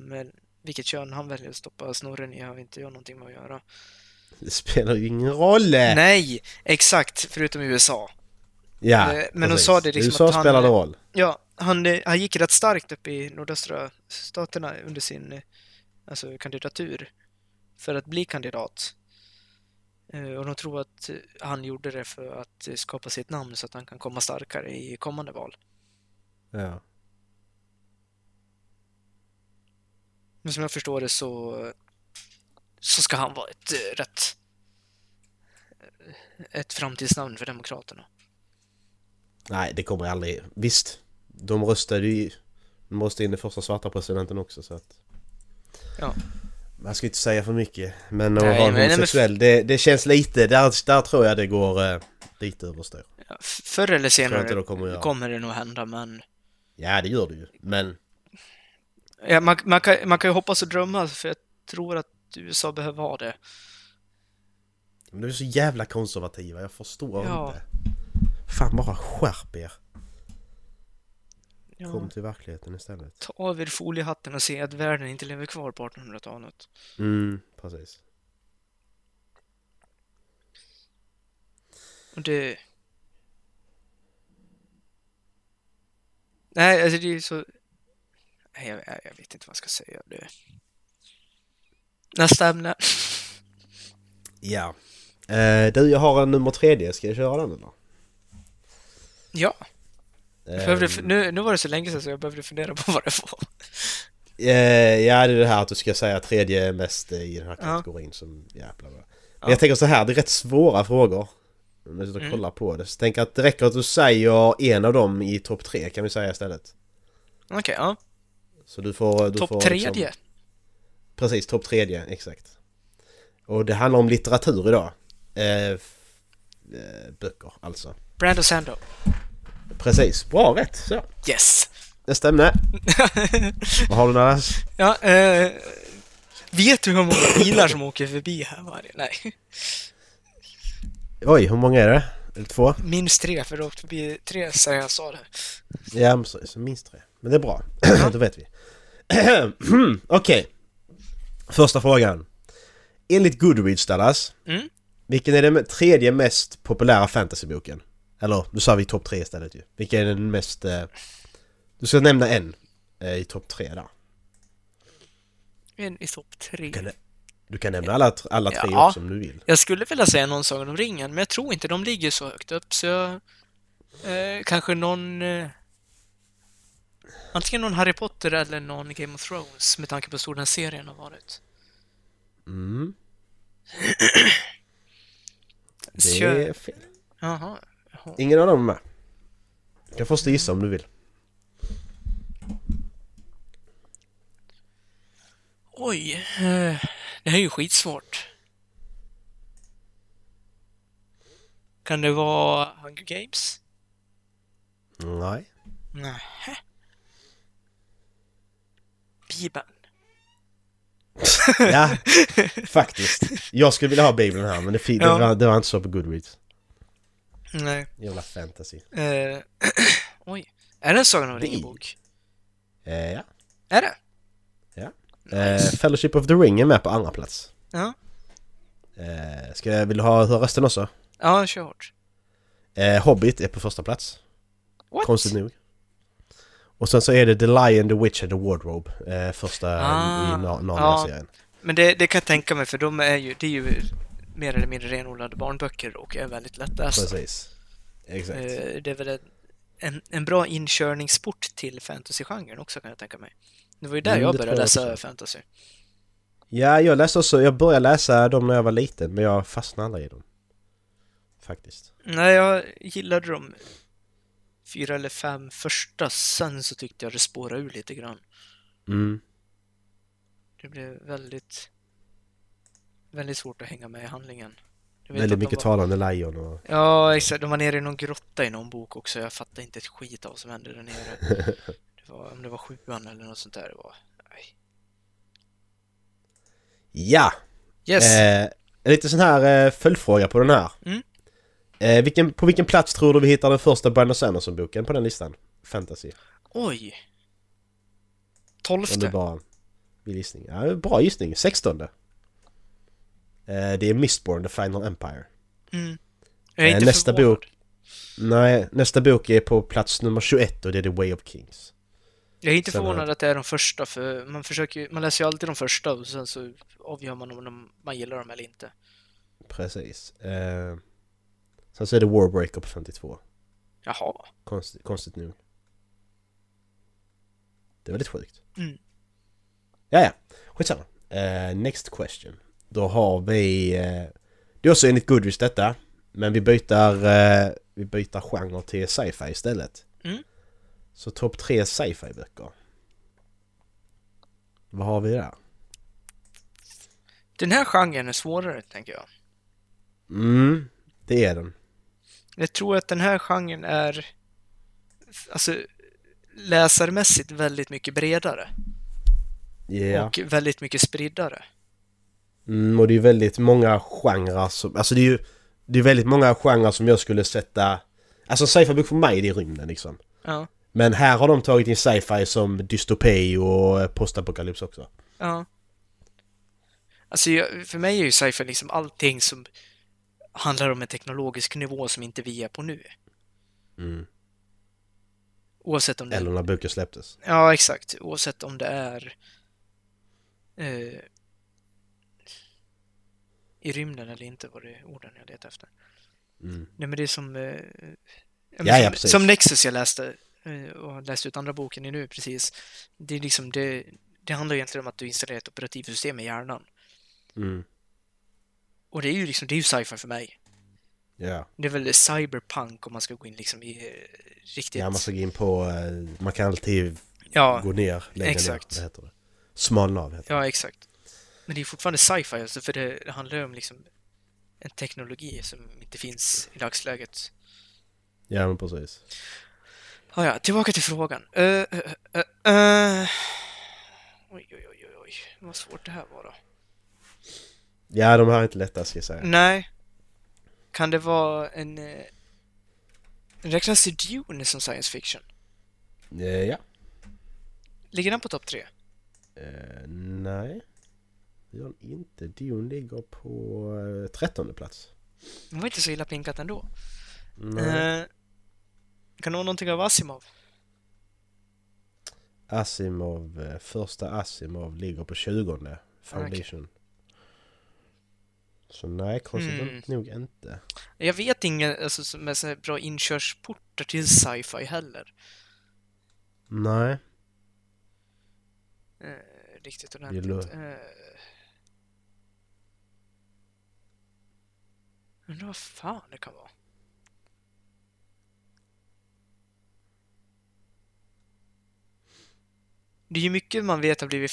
[SPEAKER 2] Men vilket kön han väljer att stoppa snorren i har inte jag någonting med att göra.
[SPEAKER 3] Det spelar ju ingen roll! Nej.
[SPEAKER 2] Nej, exakt, förutom USA.
[SPEAKER 3] Ja,
[SPEAKER 2] Eh, men de
[SPEAKER 3] precis.
[SPEAKER 2] sa det liksom
[SPEAKER 3] USA
[SPEAKER 2] att han-
[SPEAKER 3] spelade roll.
[SPEAKER 2] Ja, han, eh, han gick rätt starkt upp i nordöstra staterna under sin eh, alltså, kandidatur för att bli kandidat. Eh, Och de tror att eh, han gjorde det för att eh, skapa sitt namn så att han kan komma starkare i kommande val.
[SPEAKER 3] Ja.
[SPEAKER 2] Men som jag förstår det så, så ska han vara ett eh, rätt eh, ett framtidsnamn för Demokraterna.
[SPEAKER 3] Nej, det kommer aldrig... Visst, de röstade ju... De röstade in den första svarta presidenten också så att...
[SPEAKER 2] Ja.
[SPEAKER 3] Man ska inte säga för mycket. Men att
[SPEAKER 2] Nej,
[SPEAKER 3] vara
[SPEAKER 2] men- nej, men-
[SPEAKER 3] homosexuell, det, det känns lite... Där, där tror jag det går eh, lite överstyr.
[SPEAKER 2] Ja, f- Förr eller
[SPEAKER 3] Tror jag inte
[SPEAKER 2] senare
[SPEAKER 3] de kommer att göra.
[SPEAKER 2] kommer det nog hända men
[SPEAKER 3] Ja, det gör det ju. Men...
[SPEAKER 2] Ja, man, man, kan, man kan ju hoppas och drömma för jag tror att USA behöver ha det.
[SPEAKER 3] Men de är så jävla konservativa, jag förstår
[SPEAKER 2] Ja.
[SPEAKER 3] inte. Fan bara skärp er!
[SPEAKER 2] Ja,
[SPEAKER 3] Kom till verkligheten istället.
[SPEAKER 2] Ta av er foliehatten och se att världen inte lever kvar på 1800-talet.
[SPEAKER 3] Mm, precis.
[SPEAKER 2] Och det... Nej, alltså det är ju så... Nej, jag, jag- jag vet inte vad jag ska säga. Det... Nästa ämne.
[SPEAKER 3] Ja. Eh, du, jag har en nummer tredje. Ska jag köra den eller?
[SPEAKER 2] Ja, jag
[SPEAKER 3] Ehm,
[SPEAKER 2] behövde, f- nu, nu var det så länge sedan så jag behövde fundera på vad det var.
[SPEAKER 3] Eh, ja, det är det här att du ska säga tredje mest i den här
[SPEAKER 2] Ja.
[SPEAKER 3] kategorin som jävla bra. Men
[SPEAKER 2] Ja.
[SPEAKER 3] jag tänker så här, det är rätt svåra frågor. Om jag sitter och
[SPEAKER 2] Mm.
[SPEAKER 3] kollar på det. Så jag tänker att det räcker att du säger en av dem i topp tre kan vi säga istället.
[SPEAKER 2] Okej, ja.
[SPEAKER 3] Så du får... Du får
[SPEAKER 2] Topp
[SPEAKER 3] liksom-
[SPEAKER 2] tredje.
[SPEAKER 3] Precis, topp tredje, exakt. Och det handlar om litteratur idag. Eh, f- eh, böcker, alltså.
[SPEAKER 2] Brando Sando.
[SPEAKER 3] Precis, bra rätt. Så.
[SPEAKER 2] Yes!
[SPEAKER 3] Nästa ämne. Vad har du annars?
[SPEAKER 2] Ja, eh, vet du hur många bilar som åker förbi här varje... Nej,
[SPEAKER 3] Oj, hur många är det? Eller två?
[SPEAKER 2] minst tre, för det åkte förbi tre sen jag sa det.
[SPEAKER 3] Ja, men precis. Minst tre. Men det är bra. Då vet vi. Okej. Första frågan. Enligt Goodreads, Dallas.
[SPEAKER 2] Mm.
[SPEAKER 3] Vilken är den me- tredje mest populära fantasyboken? Eller, nu sa vi topp tre istället ju. Vilken är den mest... Eh, du ska nämna en eh, i topp tre där.
[SPEAKER 2] En i topp tre.
[SPEAKER 3] Kan det- Du kan nämna alla, tr- alla tre
[SPEAKER 2] Ja.
[SPEAKER 3] också om du vill.
[SPEAKER 2] Jag skulle vilja säga någon Sagan om ringen, men jag tror inte de ligger så högt upp, så jag... Eh, kanske någon... Eh, antingen någon Harry Potter eller någon Game of Thrones, med tanke på hur stor den serien har varit.
[SPEAKER 3] Mm. Det
[SPEAKER 2] Kör-
[SPEAKER 3] är fel.
[SPEAKER 2] Jaha.
[SPEAKER 3] Ingen av dem är med. Du kan först gissa om du vill.
[SPEAKER 2] Oj. Eh, det här är ju skitsvårt. Kan det vara Hunger Games?
[SPEAKER 3] Nej.
[SPEAKER 2] Nej. Bibeln.
[SPEAKER 3] Ja, faktiskt. Jag skulle vilja ha Bibeln här men det, fin-
[SPEAKER 2] Ja.
[SPEAKER 3] det, var, det var inte så på Goodreads.
[SPEAKER 2] Nej.
[SPEAKER 3] Jävla fantasy.
[SPEAKER 2] Eh, oj. Är det en Sagan om
[SPEAKER 3] Det är-
[SPEAKER 2] ringen-bok?
[SPEAKER 3] Eh, ja.
[SPEAKER 2] Är det?
[SPEAKER 3] Eh, Fellowship of the Ring är med på andra plats.
[SPEAKER 2] Ja.
[SPEAKER 3] Eh, ska jag, vill du ha, höra resten också?
[SPEAKER 2] Ja, kör hårt.
[SPEAKER 3] Eh, Hobbit är på första plats.
[SPEAKER 2] What?
[SPEAKER 3] Konstigt nog. Och sen så är det The Lion, The Witch and The Wardrobe. Eh, första
[SPEAKER 2] Ah,
[SPEAKER 3] i na-
[SPEAKER 2] ja.
[SPEAKER 3] Narnia-serien.
[SPEAKER 2] Men det, det kan jag tänka mig för de är ju, det är ju mer eller mindre renodlade barnböcker och är väldigt lättlästa.
[SPEAKER 3] Precis. Exakt.
[SPEAKER 2] Eh, Det är väl en- en, en bra inkörningsport till fantasygenren också kan jag tänka mig. Det var ju där
[SPEAKER 3] Mm,
[SPEAKER 2] jag
[SPEAKER 3] det
[SPEAKER 2] började
[SPEAKER 3] tror jag
[SPEAKER 2] läsa
[SPEAKER 3] också.
[SPEAKER 2] fantasy.
[SPEAKER 3] Ja, jag läste också, jag började läsa dem när jag var liten men jag fastnade aldrig i dem. Faktiskt.
[SPEAKER 2] Nej, jag gillade de fyra eller fem första, sen så tyckte jag det spårade ur lite grann.
[SPEAKER 3] Mm.
[SPEAKER 2] Det blev väldigt, väldigt svårt att hänga med i handlingen. Jag vet
[SPEAKER 3] Väldigt
[SPEAKER 2] att de
[SPEAKER 3] mycket
[SPEAKER 2] var-
[SPEAKER 3] talande lejon och...
[SPEAKER 2] Ja, exakt. De var nere i någon grotta i någon bok också. Jag fattade inte ett skit av vad som hände där nere. Det var, om det var sjuan eller något sånt där. Det var... Nej.
[SPEAKER 3] Ja!
[SPEAKER 2] Yes!
[SPEAKER 3] Eh, en liten sån här eh, följdfråga på den här.
[SPEAKER 2] Mm.
[SPEAKER 3] Eh, vilken, på vilken plats tror du vi hittar den första Brandon Sanderson-boken på den listan? Fantasy.
[SPEAKER 2] Oj!
[SPEAKER 3] Om du
[SPEAKER 2] Tolfte.
[SPEAKER 3] bara vill gissning. Ja, bra gissning. 16. Eh, det är Mistborn, The Final Empire.
[SPEAKER 2] Mm. Jag är
[SPEAKER 3] Eh,
[SPEAKER 2] inte
[SPEAKER 3] nästa
[SPEAKER 2] förvånad.
[SPEAKER 3] bok. Nej, nästa bok är på plats nummer 21 och det är The Way of Kings.
[SPEAKER 2] Jag är inte
[SPEAKER 3] Sen har-
[SPEAKER 2] förvånad att det är de första, för man försöker ju- man läser ju alltid de första och sen så avgör man om de- man gillar dem eller inte.
[SPEAKER 3] Precis. Eh, sen så är det Warbreaker på 52.
[SPEAKER 2] Jaha.
[SPEAKER 3] Konstigt, konstigt nog. Det är väldigt sjukt.
[SPEAKER 2] Mm.
[SPEAKER 3] Ja, ja. Skitsamma. Eh, next question. Då har vi... eh, det är också enligt Goodreads detta. Men vi byter, eh, vi byter genre till sci-fi istället.
[SPEAKER 2] Mm.
[SPEAKER 3] Så topp tre sci-fi böcker. Vad har vi där?
[SPEAKER 2] Den här genren är svårare, tänker jag.
[SPEAKER 3] Mm, det är den.
[SPEAKER 2] Jag tror att den här genren är alltså, läsarmässigt väldigt mycket bredare
[SPEAKER 3] Yeah.
[SPEAKER 2] och väldigt mycket spridare.
[SPEAKER 3] Mm, och det är ju väldigt många genrer som, alltså det är ju Det är väldigt många genrer som jag skulle sätta Alltså sci-fi-bok för mig det är rymden liksom
[SPEAKER 2] Ja,
[SPEAKER 3] Men här har de tagit in sci-fi som dystopi och eh, postapokalyps också
[SPEAKER 2] ja. Alltså, jag, för mig är ju sci-fi liksom allting som handlar om en teknologisk nivå som inte vi är på nu.
[SPEAKER 3] mm.
[SPEAKER 2] Oavsett om det
[SPEAKER 3] Eller när boken släpptes
[SPEAKER 2] Ja, exakt. Oavsett om det är eh, i rymden eller inte var det orden jag letade efter.
[SPEAKER 3] Mm.
[SPEAKER 2] Nej, men det är som... Eh, ja, men
[SPEAKER 3] Ja, ja,
[SPEAKER 2] som,
[SPEAKER 3] precis.
[SPEAKER 2] som Nexus jag läste eh, och läste ut andra boken i nu precis. Det är liksom det, det handlar egentligen om att du installerar ett operativsystem i hjärnan.
[SPEAKER 3] mm.
[SPEAKER 2] Och det är ju liksom, det är ju sci-fi för mig.
[SPEAKER 3] Ja,
[SPEAKER 2] Det är väl cyberpunk om man ska gå in liksom i eh, riktigt...
[SPEAKER 3] ja man ska gå in på, eh, man kan alltid
[SPEAKER 2] ja.
[SPEAKER 3] gå ner, lägga
[SPEAKER 2] exakt.
[SPEAKER 3] ner, vad heter det? Smalna av heter det
[SPEAKER 2] Ja, exakt. Men det är fortfarande sci-fi, alltså, för det, det handlar ju om liksom en teknologi som inte finns i dagsläget.
[SPEAKER 3] Ja men precis
[SPEAKER 2] Ah, ja, tillbaka till frågan. Eh, eh, eh, eh. Oj, oj, oj, oj, oj, vad svårt det här var då.
[SPEAKER 3] Ja de här är inte lätta ska jag säga
[SPEAKER 2] Nej. Kan det vara en... eh, Räknas det Dune som science fiction?
[SPEAKER 3] Eh, Ja
[SPEAKER 2] Ligger den på topp tre?
[SPEAKER 3] Eh, Nej Det gör den inte, Dune ligger på uh, trettonde plats
[SPEAKER 2] Den var inte så illa pinkat ändå.
[SPEAKER 3] Nej.
[SPEAKER 2] Eh, kan det vara någonting av Asimov?
[SPEAKER 3] Asimov, eh, första Asimov ligger på 20 Foundation. Så nej, konstigt
[SPEAKER 2] Hmm.
[SPEAKER 3] nog inte.
[SPEAKER 2] Jag vet inga alltså, som är så här bra inkörsportar till sci-fi heller.
[SPEAKER 3] Nej.
[SPEAKER 2] Eh, riktigt ordentligt.
[SPEAKER 3] Gillar-
[SPEAKER 2] Eh, undrar vad fan det kan vara. Det är ju mycket man vet har blivit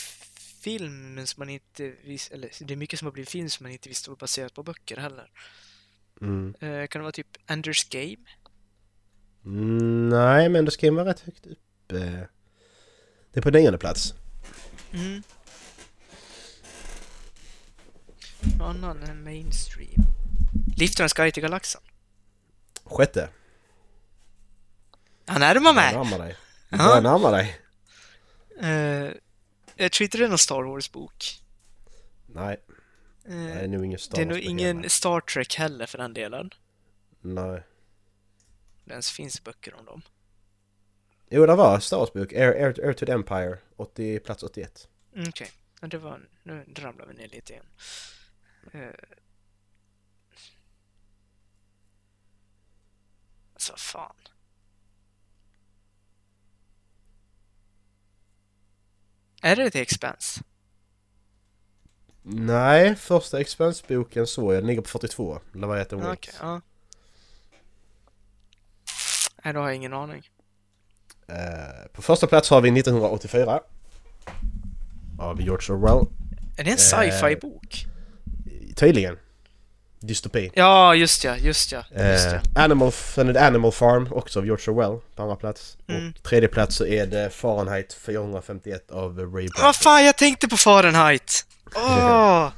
[SPEAKER 2] film men som man inte vis- eller det är mycket som har blivit film som man inte visste var baserat på böcker heller.
[SPEAKER 3] Mm.
[SPEAKER 2] Eh, kan det vara typ Enders Game?
[SPEAKER 3] Mm, nej, men då ska den vara rätt högt uppe. Det är på nionde plats.
[SPEAKER 2] Mm. Vad annan än mainstream? Liftarens guide till galaxen.
[SPEAKER 3] Sjätte.
[SPEAKER 2] Han närmar
[SPEAKER 3] Jag
[SPEAKER 2] mig!
[SPEAKER 3] närmar dig.
[SPEAKER 2] Jaha.
[SPEAKER 3] Jag närmar dig.
[SPEAKER 2] Eh, jag tror inte det är någon Star Wars-bok.
[SPEAKER 3] Nej,
[SPEAKER 2] Eh,
[SPEAKER 3] det är nog ingen Star
[SPEAKER 2] det är nog
[SPEAKER 3] Wars på
[SPEAKER 2] ingen
[SPEAKER 3] hela.
[SPEAKER 2] Star Trek heller för den delen.
[SPEAKER 3] Nej.
[SPEAKER 2] Det ens finns böcker om dem.
[SPEAKER 3] Jo, det var Star Wars-bok. Air, Air, Air to the Empire. 80, plats 81.
[SPEAKER 2] Mm, Okej, ja, det var... Nu ramlar vi ner lite igen. Eh. Alltså, vad fan. Är det The Expanse?
[SPEAKER 3] Nej, första Expense-boken såg jag. Den ligger på 42. Det var jättemånga.
[SPEAKER 2] Ja, Ah, Okej, ja. Nej, då har jag ingen aning.
[SPEAKER 3] Eh, på första plats har vi 1984. Av George Orwell.
[SPEAKER 2] Är det en
[SPEAKER 3] Eh.
[SPEAKER 2] sci-fi-bok?
[SPEAKER 3] Tydligen. Dystopi.
[SPEAKER 2] Ja, just ja, just ja, just
[SPEAKER 3] Eh,
[SPEAKER 2] ja.
[SPEAKER 3] Animal, sen är det Animal Farm, också av George Orwell, på andra plats.
[SPEAKER 2] Mm.
[SPEAKER 3] Och tredje plats så är det Fahrenheit 451 av Ray Bradbury.
[SPEAKER 2] Vad Ah, fan, jag tänkte på Fahrenheit! Åh!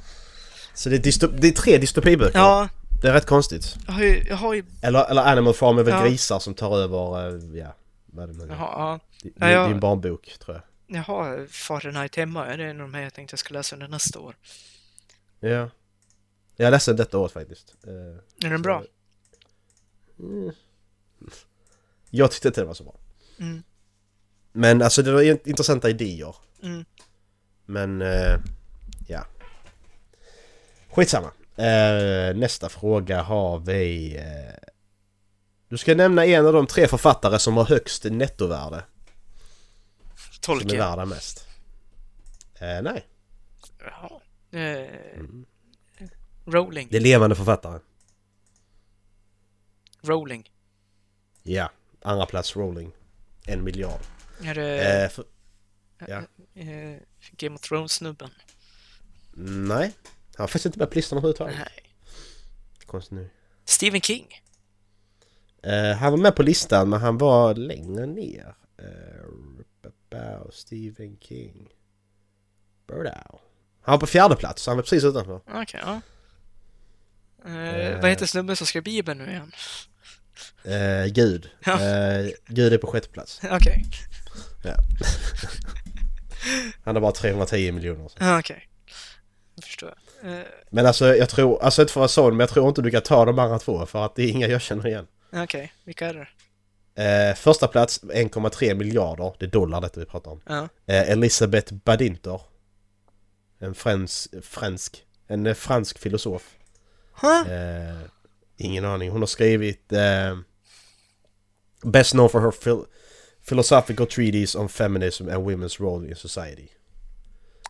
[SPEAKER 3] Så det är, dysto- det är tre dystopiböcker.
[SPEAKER 2] Ja,
[SPEAKER 3] Det är rätt konstigt.
[SPEAKER 2] jag har ju... Jag har ju
[SPEAKER 3] Eller, eller Animal Farm är väl
[SPEAKER 2] Ja.
[SPEAKER 3] grisar som tar över, eh, ja, vad det nu är.
[SPEAKER 2] jaha, ja.
[SPEAKER 3] Det, det,
[SPEAKER 2] Ja, jag-
[SPEAKER 3] det är en barnbok, tror jag.
[SPEAKER 2] Jag har Fahrenheit hemma, är det en av de här jag tänkte jag skulle läsa under nästa år?
[SPEAKER 3] Ja. Jag läste den detta året faktiskt. Eh,
[SPEAKER 2] Är den bra?
[SPEAKER 3] Mm. Jag tyckte inte det var så bra.
[SPEAKER 2] Mm.
[SPEAKER 3] Men alltså det var ju intressanta idéer.
[SPEAKER 2] Mm.
[SPEAKER 3] Men, eh, ja. Skitsamma. Eh, nästa fråga har vi... Eh, du ska nämna en av de tre författare som har högst nettovärde. Som är
[SPEAKER 2] Tolkien?
[SPEAKER 3] värda mest. Eh, nej,
[SPEAKER 2] Jaha. Eh, Rowling,
[SPEAKER 3] Mm. det är levande författare.
[SPEAKER 2] Rowling.
[SPEAKER 3] Ja, andra plats Rowling. En miljard.
[SPEAKER 2] Är det
[SPEAKER 3] Eh, för, ja.
[SPEAKER 2] eh, Game of Thrones-snubben?
[SPEAKER 3] Nej, han har faktiskt inte med på listan överhuvudtaget.
[SPEAKER 2] Nej.
[SPEAKER 3] Konstigt nu.
[SPEAKER 2] Stephen King?
[SPEAKER 3] Eh, han var med på listan men han var längre ner. Uh, Stephen King. Birdow. Han var på fjärde plats, så han var precis utanför.
[SPEAKER 2] Okej, ja. Eh,
[SPEAKER 3] Eh.
[SPEAKER 2] Vad heter snubben som skrev Bibeln nu igen?
[SPEAKER 3] Eh, Gud.
[SPEAKER 2] Ja.
[SPEAKER 3] Eh, Gud är på sjätte plats.
[SPEAKER 2] Okej, okay.
[SPEAKER 3] Han har bara 310 miljoner. Så.
[SPEAKER 2] okej. Jag förstår. Eh,
[SPEAKER 3] Men alltså jag tror, alltså inte för att vara sån, men jag tror inte du kan ta de andra två för att det är inga jag känner igen.
[SPEAKER 2] okej, vilka är det?
[SPEAKER 3] Eh, första plats 1,3 miljarder, det är dollar detta vi pratar om.
[SPEAKER 2] Ja.
[SPEAKER 3] Eh, Elisabeth Badinter. En frans, fransk, en eh, fransk filosof.
[SPEAKER 2] Huh?
[SPEAKER 3] Eh, ingen aning. Hon har skrivit eh, Best known for her phil philosophical treatise on feminism and women's role in society.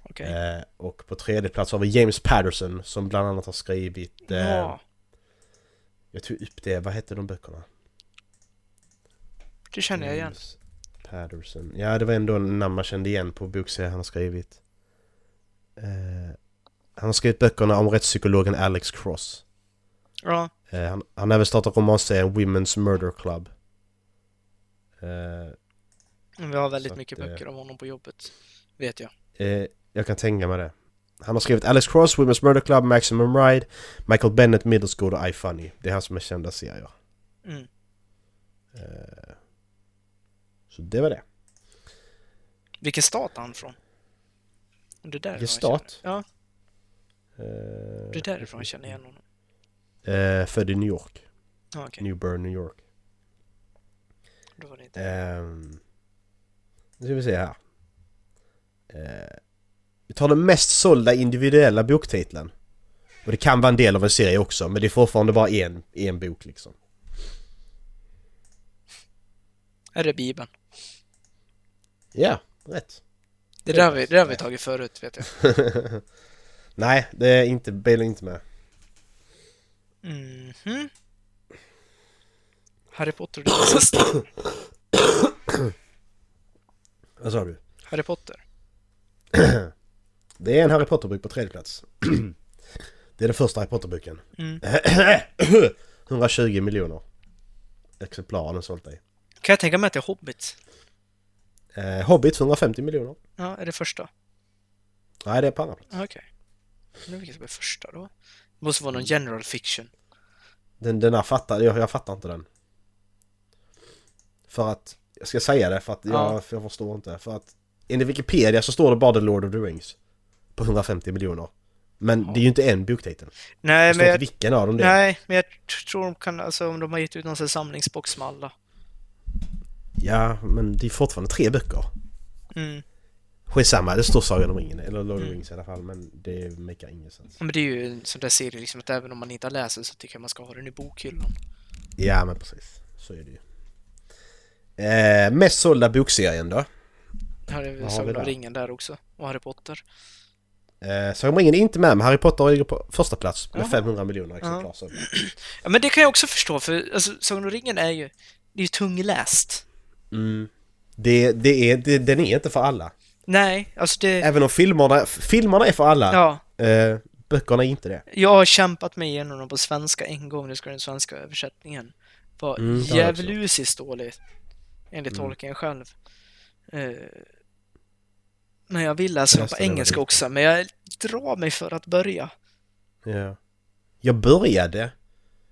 [SPEAKER 2] Okej.
[SPEAKER 3] Eh, och på tredje plats har vi James Patterson som bland annat har skrivit... Eh,
[SPEAKER 2] Ja,
[SPEAKER 3] Jag tog upp det, vad hette de böckerna?
[SPEAKER 2] det känner jag igen.
[SPEAKER 3] James Patterson. Ja, det var ändå en namn man kände igen på bokserien han har skrivit. Eh, han har skrivit böckerna om rättspsykologen Alex Cross.
[SPEAKER 2] Ja,
[SPEAKER 3] Eh, han, han har även startat romanserien Women's Murder Club. Eh,
[SPEAKER 2] men vi har väldigt
[SPEAKER 3] Så att,
[SPEAKER 2] mycket
[SPEAKER 3] eh,
[SPEAKER 2] böcker om honom på jobbet. Vet jag.
[SPEAKER 3] Eh, jag kan tänka mig det. Han har skrivit Alice Cross, Women's Murder Club, Maximum Ride, Michael Bennett, Middle School och I Funny. Det är hans mest kända serier.
[SPEAKER 2] Mm.
[SPEAKER 3] Eh, så det var det.
[SPEAKER 2] Vilken stat är han från? Om Det är därifrån
[SPEAKER 3] Vilken
[SPEAKER 2] jag
[SPEAKER 3] stat?
[SPEAKER 2] Känner. Ja,
[SPEAKER 3] Eh,
[SPEAKER 2] det är därifrån jag känner igen honom.
[SPEAKER 3] eh, född i New York.
[SPEAKER 2] Ja, okej.
[SPEAKER 3] New Bern, New York. Eh.
[SPEAKER 2] Då var det inte...
[SPEAKER 3] Ehm, nu ska vi se här. Eh, tar den mest sålda individuella boktiteln. Och det kan vara en del av en serie också, men det är fortfarande bara en, en bok liksom.
[SPEAKER 2] Är det Bibeln?
[SPEAKER 3] Ja, rätt.
[SPEAKER 2] Det där har vi, det där har vi
[SPEAKER 3] Eh.
[SPEAKER 2] tagit förut, vet jag.
[SPEAKER 3] Nej, det är inte, Bale är inte med.
[SPEAKER 2] Mhm. Harry Potter och den sista.
[SPEAKER 3] Vad sa du?
[SPEAKER 2] Harry Potter.
[SPEAKER 3] Det är en Harry Potter-bok på tredje plats. det är den första Harry Potter-boken.
[SPEAKER 2] Mm.
[SPEAKER 3] 120 miljoner exemplar har den sålt i.
[SPEAKER 2] Kan jag tänka mig att det är Hobbit?
[SPEAKER 3] Eh, Hobbit 150 miljoner.
[SPEAKER 2] Ja, är det första?
[SPEAKER 3] Nej, det är på andra plats.
[SPEAKER 2] Ja, Okej. Mm. Nu vilket som är första då? Det måste vara någon general fiction.
[SPEAKER 3] Den, den här fattar, jag, jag fattar inte den. För att, jag ska säga det för att jag,
[SPEAKER 2] Ja.
[SPEAKER 3] för jag förstår inte. För att enligt Wikipedia så står det bara The Lord of the Rings. På 150 miljoner. Men det är ju inte en boktitel.
[SPEAKER 2] Nej,
[SPEAKER 3] Jag
[SPEAKER 2] men
[SPEAKER 3] förstår inte
[SPEAKER 2] jag,
[SPEAKER 3] vilken av dem det är.
[SPEAKER 2] nej, men jag tror de kan, alltså om de har gett ut någon sån här samlingsbox med alla.
[SPEAKER 3] Ja, men det är fortfarande tre böcker.
[SPEAKER 2] Mm.
[SPEAKER 3] Skitsamma, det står Sagan om ringen. Eller Lord of the Rings i alla fall. Men det makar ingen sens.
[SPEAKER 2] Ja, Men det är ju en sån där serie liksom att även om man inte har läst den så tycker jag man ska ha den i bokhyllan.
[SPEAKER 3] Ja, men precis. Så är det ju. Eh, mest sålda bokserien då?
[SPEAKER 2] Här är
[SPEAKER 3] har
[SPEAKER 2] väl Sagan
[SPEAKER 3] vi
[SPEAKER 2] om
[SPEAKER 3] där?
[SPEAKER 2] ringen där också. Och Harry Potter.
[SPEAKER 3] Eh, Sagan om ringen är inte med, men Harry Potter ligger på första plats med
[SPEAKER 2] Jaha.
[SPEAKER 3] 500 miljoner exemplar. sålda.
[SPEAKER 2] Ja, men det kan jag också förstå för alltså, Sagan om ringen är ju, det är ju tungläst.
[SPEAKER 3] Mm. Det, det är, det, den är inte för alla.
[SPEAKER 2] Nej, alltså det...
[SPEAKER 3] Även om filmerna, filmerna är för alla,
[SPEAKER 2] Ja,
[SPEAKER 3] eh, böckerna är inte det.
[SPEAKER 2] jag har kämpat mig igenom dem på svenska en gång, nu ska den svenska översättningen var
[SPEAKER 3] Mm, det Mm. har jag också.
[SPEAKER 2] djävulusiskt dålig, enligt Tolkien själv. Eh, men jag vill läsa dem på
[SPEAKER 3] Nästan överallt.
[SPEAKER 2] engelska också, men jag drar mig för att börja.
[SPEAKER 3] Ja. Jag började,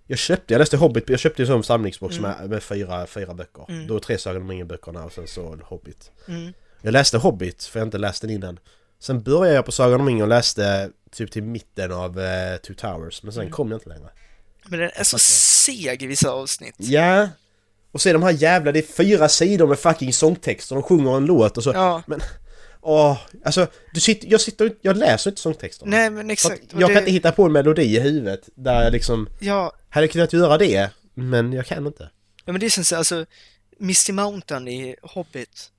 [SPEAKER 3] jag köpte, jag läste Hobbit, jag köpte en sån samlingsbox med, med fyra, fyra böcker.
[SPEAKER 2] Mm.
[SPEAKER 3] Då tre Sagan om ringen-böckerna och sen så Hobbit.
[SPEAKER 2] Mm.
[SPEAKER 3] Jag läste Hobbit, för jag har inte läst den innan. Sen började jag på Sagan om ringen och läste typ till mitten av eh, Two Towers, men sen
[SPEAKER 2] Mm.
[SPEAKER 3] kom jag inte längre.
[SPEAKER 2] Men den är så
[SPEAKER 3] fattar.
[SPEAKER 2] seg i vissa avsnitt.
[SPEAKER 3] Ja. Och så är de här jävla, det är fyra sidor med fucking sångtext och de sjunger en låt och så...
[SPEAKER 2] Ja.
[SPEAKER 3] Men... Åh, alltså, du sitter, jag sitter inte- jag läser inte sångtexterna.
[SPEAKER 2] Nej, men
[SPEAKER 3] För att
[SPEAKER 2] exakt. och
[SPEAKER 3] jag
[SPEAKER 2] det-
[SPEAKER 3] kan inte hitta på en melodi i huvudet där jag liksom,
[SPEAKER 2] Ja,
[SPEAKER 3] hade jag kunnat göra det, men jag kan inte.
[SPEAKER 2] ja, men det är som så, alltså, Misty Mountain i Hobbit,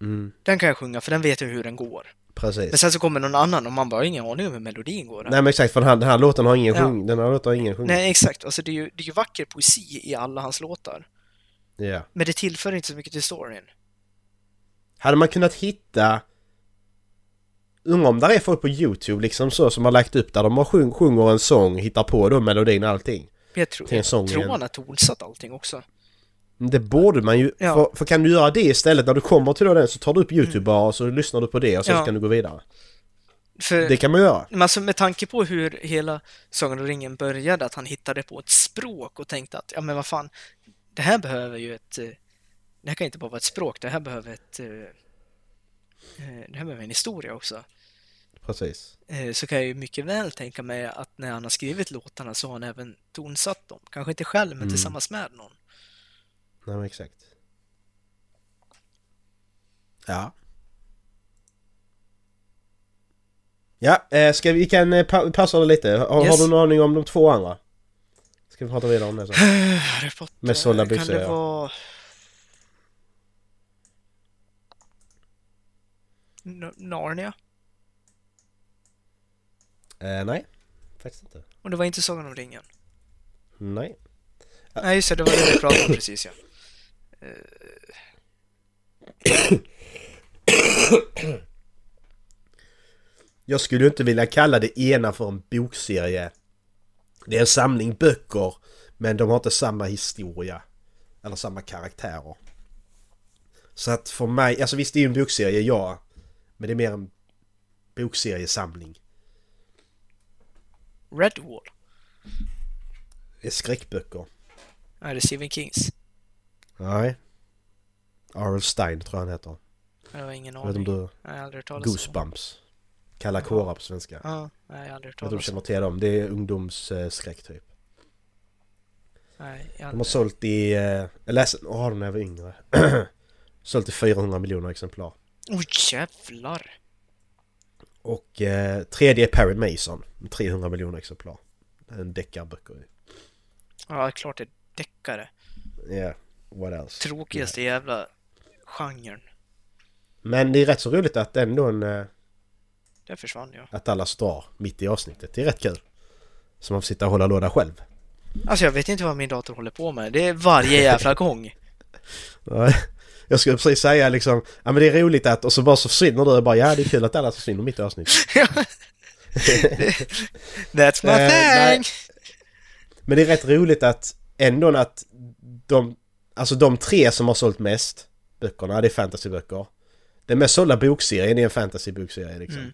[SPEAKER 3] Mm,
[SPEAKER 2] den kan jag sjunga för den vet jag hur den går.
[SPEAKER 3] precis.
[SPEAKER 2] Men sen så kommer någon annan och man bara har ingen aning om hur melodin går.
[SPEAKER 3] Nej men exakt, för den här, den här låten har ingen
[SPEAKER 2] Ja.
[SPEAKER 3] sjung, den här låten har ingen sjung.
[SPEAKER 2] Nej, exakt. Alltså, det, är ju, det är ju vacker poesi i alla hans låtar.
[SPEAKER 3] Ja.
[SPEAKER 2] Men det tillför inte så mycket till storyn.
[SPEAKER 3] Hade man kunnat hitta, undrar om där är folk på YouTube liksom så som har lagt upp där de har sjung, sjunger en sång, hittar på då melodin och allting.
[SPEAKER 2] Men jag tror,
[SPEAKER 3] Till en sång
[SPEAKER 2] tror
[SPEAKER 3] igen.
[SPEAKER 2] han har tonsatt allting också.
[SPEAKER 3] Det borde man ju,
[SPEAKER 2] Ja. Mm.
[SPEAKER 3] för, för kan du göra det istället när du kommer till då den så tar du upp YouTube bara och så lyssnar du på det och sen
[SPEAKER 2] Ja. Eh.
[SPEAKER 3] så kan du gå vidare.
[SPEAKER 2] För,
[SPEAKER 3] Det kan man göra.
[SPEAKER 2] men alltså, med tanke på hur hela Sagan om ringen började, att han hittade på ett språk och tänkte att ja, men vad fan, det här behöver ju ett... eh, Det här kan inte bara vara ett språk, det här behöver ett... eh, eh, Det här behöver en historia också.
[SPEAKER 3] Precis.
[SPEAKER 2] Eh, Så kan jag ju mycket väl tänka mig att när han har skrivit låtarna så har han även tonsatt dem. Kanske inte själv, men
[SPEAKER 3] Mm.
[SPEAKER 2] tillsammans med någon.
[SPEAKER 3] Nej men exakt. Ja. Ja, eh, ska vi, vi kan eh, pa- pausa det lite. Har,
[SPEAKER 2] Yes.
[SPEAKER 3] har du någon aning om de två andra? Ska vi prata vidare om det sen?
[SPEAKER 2] Harry Potter.
[SPEAKER 3] Med sålda byxor,
[SPEAKER 2] Äh, Eh, Kan det
[SPEAKER 3] ja.
[SPEAKER 2] vara... N- Narnia?
[SPEAKER 3] Eh, nej, faktiskt inte.
[SPEAKER 2] Och det var inte Sagan om ringen?
[SPEAKER 3] Nej.
[SPEAKER 2] Nej, just det, det var det vi pratade om precis ja.
[SPEAKER 3] Jag skulle ju inte vilja kalla det ena för en bokserie. Det är en samling böcker, men de har inte samma historia. Eller samma karaktärer. Så att för mig, alltså visst det är ju en bokserie, ja. Men det är mer en bokseriesamling.
[SPEAKER 2] Redwall?
[SPEAKER 3] Det är skräckböcker.
[SPEAKER 2] Nej, det är Stephen Kings.
[SPEAKER 3] Nej. R.L. Stein tror jag han heter.
[SPEAKER 2] Jag har ingen
[SPEAKER 3] Jag vet
[SPEAKER 2] aning.
[SPEAKER 3] inte om du...
[SPEAKER 2] Nej, jag har aldrig hört talas om det.
[SPEAKER 3] Goosebumps. Kalla kårar på svenska. Jag
[SPEAKER 2] Ja, nej, jag har aldrig hört
[SPEAKER 3] vet inte om du
[SPEAKER 2] talas om
[SPEAKER 3] känner till dem. Det är ungdomsskräck typ.
[SPEAKER 2] Nej, jag har
[SPEAKER 3] De har
[SPEAKER 2] aldrig...
[SPEAKER 3] sålt i... eh, Jag läste en av dem när jag var yngre. sålt i 400 miljoner exemplar.
[SPEAKER 2] Oh, jävlar!
[SPEAKER 3] Och eh, tredje är Perry Mason, med 300 miljoner exemplar. En deckarböcker.
[SPEAKER 2] Ja, klart det är deckare.
[SPEAKER 3] Ja, what else?
[SPEAKER 2] Tråkigaste jävla genren.
[SPEAKER 3] Men det är rätt så roligt att ändå en, eh,
[SPEAKER 2] Där försvann jag.
[SPEAKER 3] att alla står mitt i avsnittet. Det är rätt kul. Så man får sitta och hålla låda själv.
[SPEAKER 2] Alltså jag vet inte vad min dator håller på med. Det är varje jävla gång.
[SPEAKER 3] Nej, Jag skulle precis säga liksom, ja men det är roligt att, och så bara så försvinner du och bara ja det är kul att alla försvinner mitt i avsnittet.
[SPEAKER 2] That's my
[SPEAKER 3] Eh, nej.
[SPEAKER 2] thing!
[SPEAKER 3] Men det är rätt roligt att ändå att de, alltså de tre som har sålt mest böckerna, det är fantasyböcker. Den mest sålda bokserien är en fantasybokserie liksom.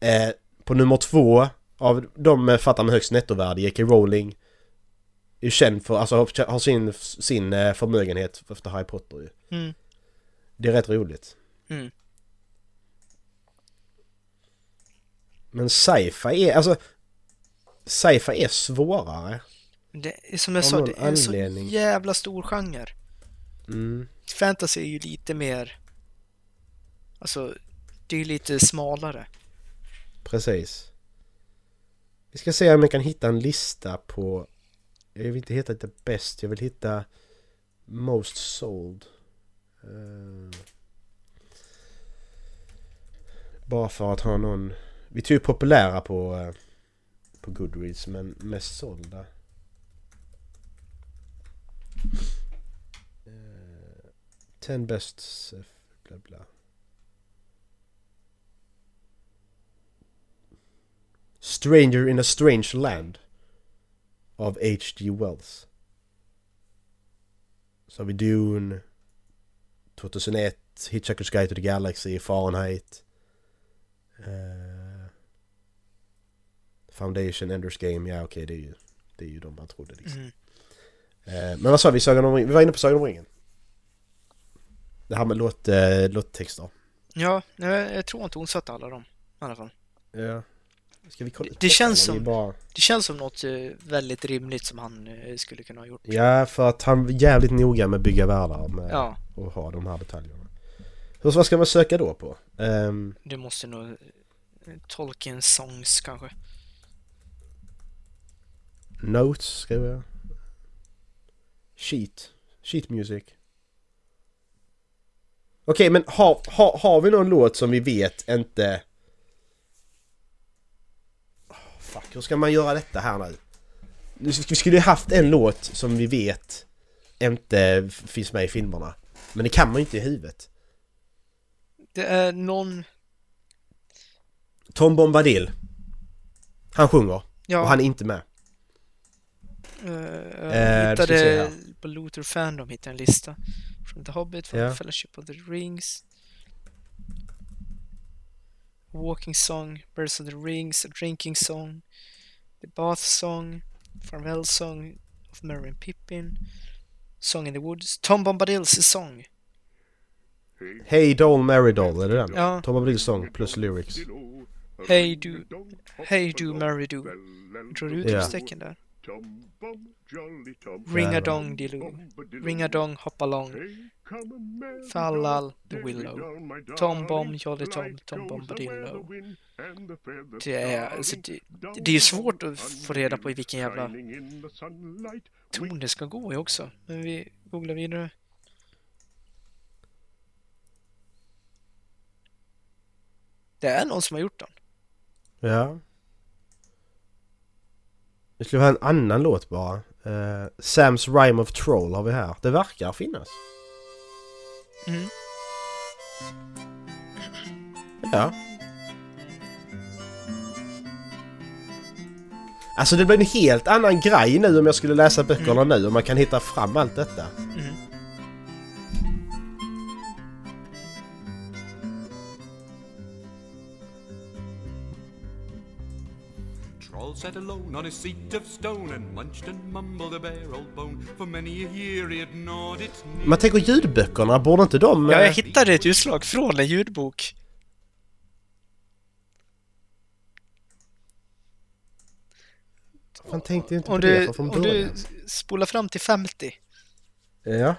[SPEAKER 2] Mm.
[SPEAKER 3] Eh, på nummer två av de författare med högst nettovärde, J.K. Rowling, är ju känd för, alltså har- har sin, sin eh, förmögenhet efter Harry Potter ju.
[SPEAKER 2] Mm.
[SPEAKER 3] Det är rätt roligt.
[SPEAKER 2] Mm.
[SPEAKER 3] Men sci-fi är, alltså sci-fi är svårare.
[SPEAKER 2] Det, är som jag
[SPEAKER 3] Av
[SPEAKER 2] sa,
[SPEAKER 3] någon
[SPEAKER 2] det är en så
[SPEAKER 3] anledning.
[SPEAKER 2] jävla stor genre.
[SPEAKER 3] Mm.
[SPEAKER 2] Fantasy är ju lite mer... Alltså, det är ju lite smalare.
[SPEAKER 3] Precis. Vi ska se om jag kan hitta en lista på... Jag vill inte hitta the best, jag vill hitta most sold. Eh, bara för att ha någon... Vi tog ju populära på, eh, på Goodreads, men mest sålda. Eh, ten best... eh, Bla bla. Stranger in a Strange Land av H.G. Wells. Så har vi Dune, 2001, Hitchhiker's Guide to the Galaxy, Fahrenheit, eh, Foundation, Enders Game, ja okej det är ju det är ju de man trodde liksom.
[SPEAKER 2] Mm.
[SPEAKER 3] Eh, men vad sa vi, Sagan om ringen? Vi var inne på Sagan om ringen. Det här med låt, eh, låttexter.
[SPEAKER 2] Ja, nej, jag tror inte hon satte alla dem. I alla fall.
[SPEAKER 3] Ja. Ska vi kolla?
[SPEAKER 2] Det- det känns
[SPEAKER 3] Eller vi
[SPEAKER 2] som-
[SPEAKER 3] Bara...
[SPEAKER 2] Det känns som något eh, väldigt rimligt som han eh, skulle kunna ha gjort.
[SPEAKER 3] Ja, för att han är jävligt noga med att bygga världar med,
[SPEAKER 2] Ja,
[SPEAKER 3] och ha de här detaljerna. Så vad ska man söka då på? Ehm,
[SPEAKER 2] det måste nog... eh, Tolkien Songs kanske.
[SPEAKER 3] notes skriver jag. Sheet. Sheet music. Okej, men har, har, har vi någon låt som vi vet inte... Åh, fuck, hur ska man göra detta här nu? Nu sk- Vi skulle ju haft en låt som vi vet inte f- finns med i filmerna. Men det kan man ju inte i huvudet.
[SPEAKER 2] Det är någon...
[SPEAKER 3] Tom Bombadil. Han sjunger.
[SPEAKER 2] Ja,
[SPEAKER 3] Och han är inte med.
[SPEAKER 2] eh,
[SPEAKER 3] eh,
[SPEAKER 2] jag
[SPEAKER 3] nu ska
[SPEAKER 2] hittade
[SPEAKER 3] vi se här.
[SPEAKER 2] på Luther Fandom hittade en lista. Från The Hobbit, från
[SPEAKER 3] Ja.
[SPEAKER 2] The Fellowship of the Rings. Walking Song, Birds of the Rings, A Drinking Song, The Bath Song, Farewell Song of Merry and Pippin, Song in the Woods, Tom Bombadils sång.
[SPEAKER 3] Hey Doll Mary Doll, är det den?
[SPEAKER 2] Ja.
[SPEAKER 3] Tom Abdils sång plus lyrics.
[SPEAKER 2] Hey du, hey du, Mary du. Drar du utropstecken där? Ring-a-dong diloo, ring-a-dong hopalong, Fallal, The Willow, Tom Bomb, Jolly Tom, Tom Bombadillo. Det är, alltså, det, det är ju svårt att få reda på i vilken jävla ton det ska gå i också. Men vi googlar vidare. Det är någon som har gjort den.
[SPEAKER 3] Ja. Vi skulle ha en annan låt bara. Eh, Sam's Rhyme of Troll har vi här. Det verkar finnas.
[SPEAKER 2] Mm.
[SPEAKER 3] Ja. Alltså det blir en helt annan grej nu om jag skulle läsa böckerna nu och man kan hitta fram allt detta.
[SPEAKER 2] Mm.
[SPEAKER 4] Troll sat alone on his seat of stone and munched and mumbled a bare old bone. For many a year he had gnawed its knee.
[SPEAKER 3] Man tänker ljudböckerna, borde inte de...
[SPEAKER 2] Ja,
[SPEAKER 3] eh,
[SPEAKER 2] jag hittade ett utslag från en ljudbok.
[SPEAKER 3] Fan tänkte jag inte
[SPEAKER 2] Om
[SPEAKER 3] på det
[SPEAKER 2] du,
[SPEAKER 3] från- från
[SPEAKER 2] om du
[SPEAKER 3] början.
[SPEAKER 2] spolar fram till 50.
[SPEAKER 3] Ja.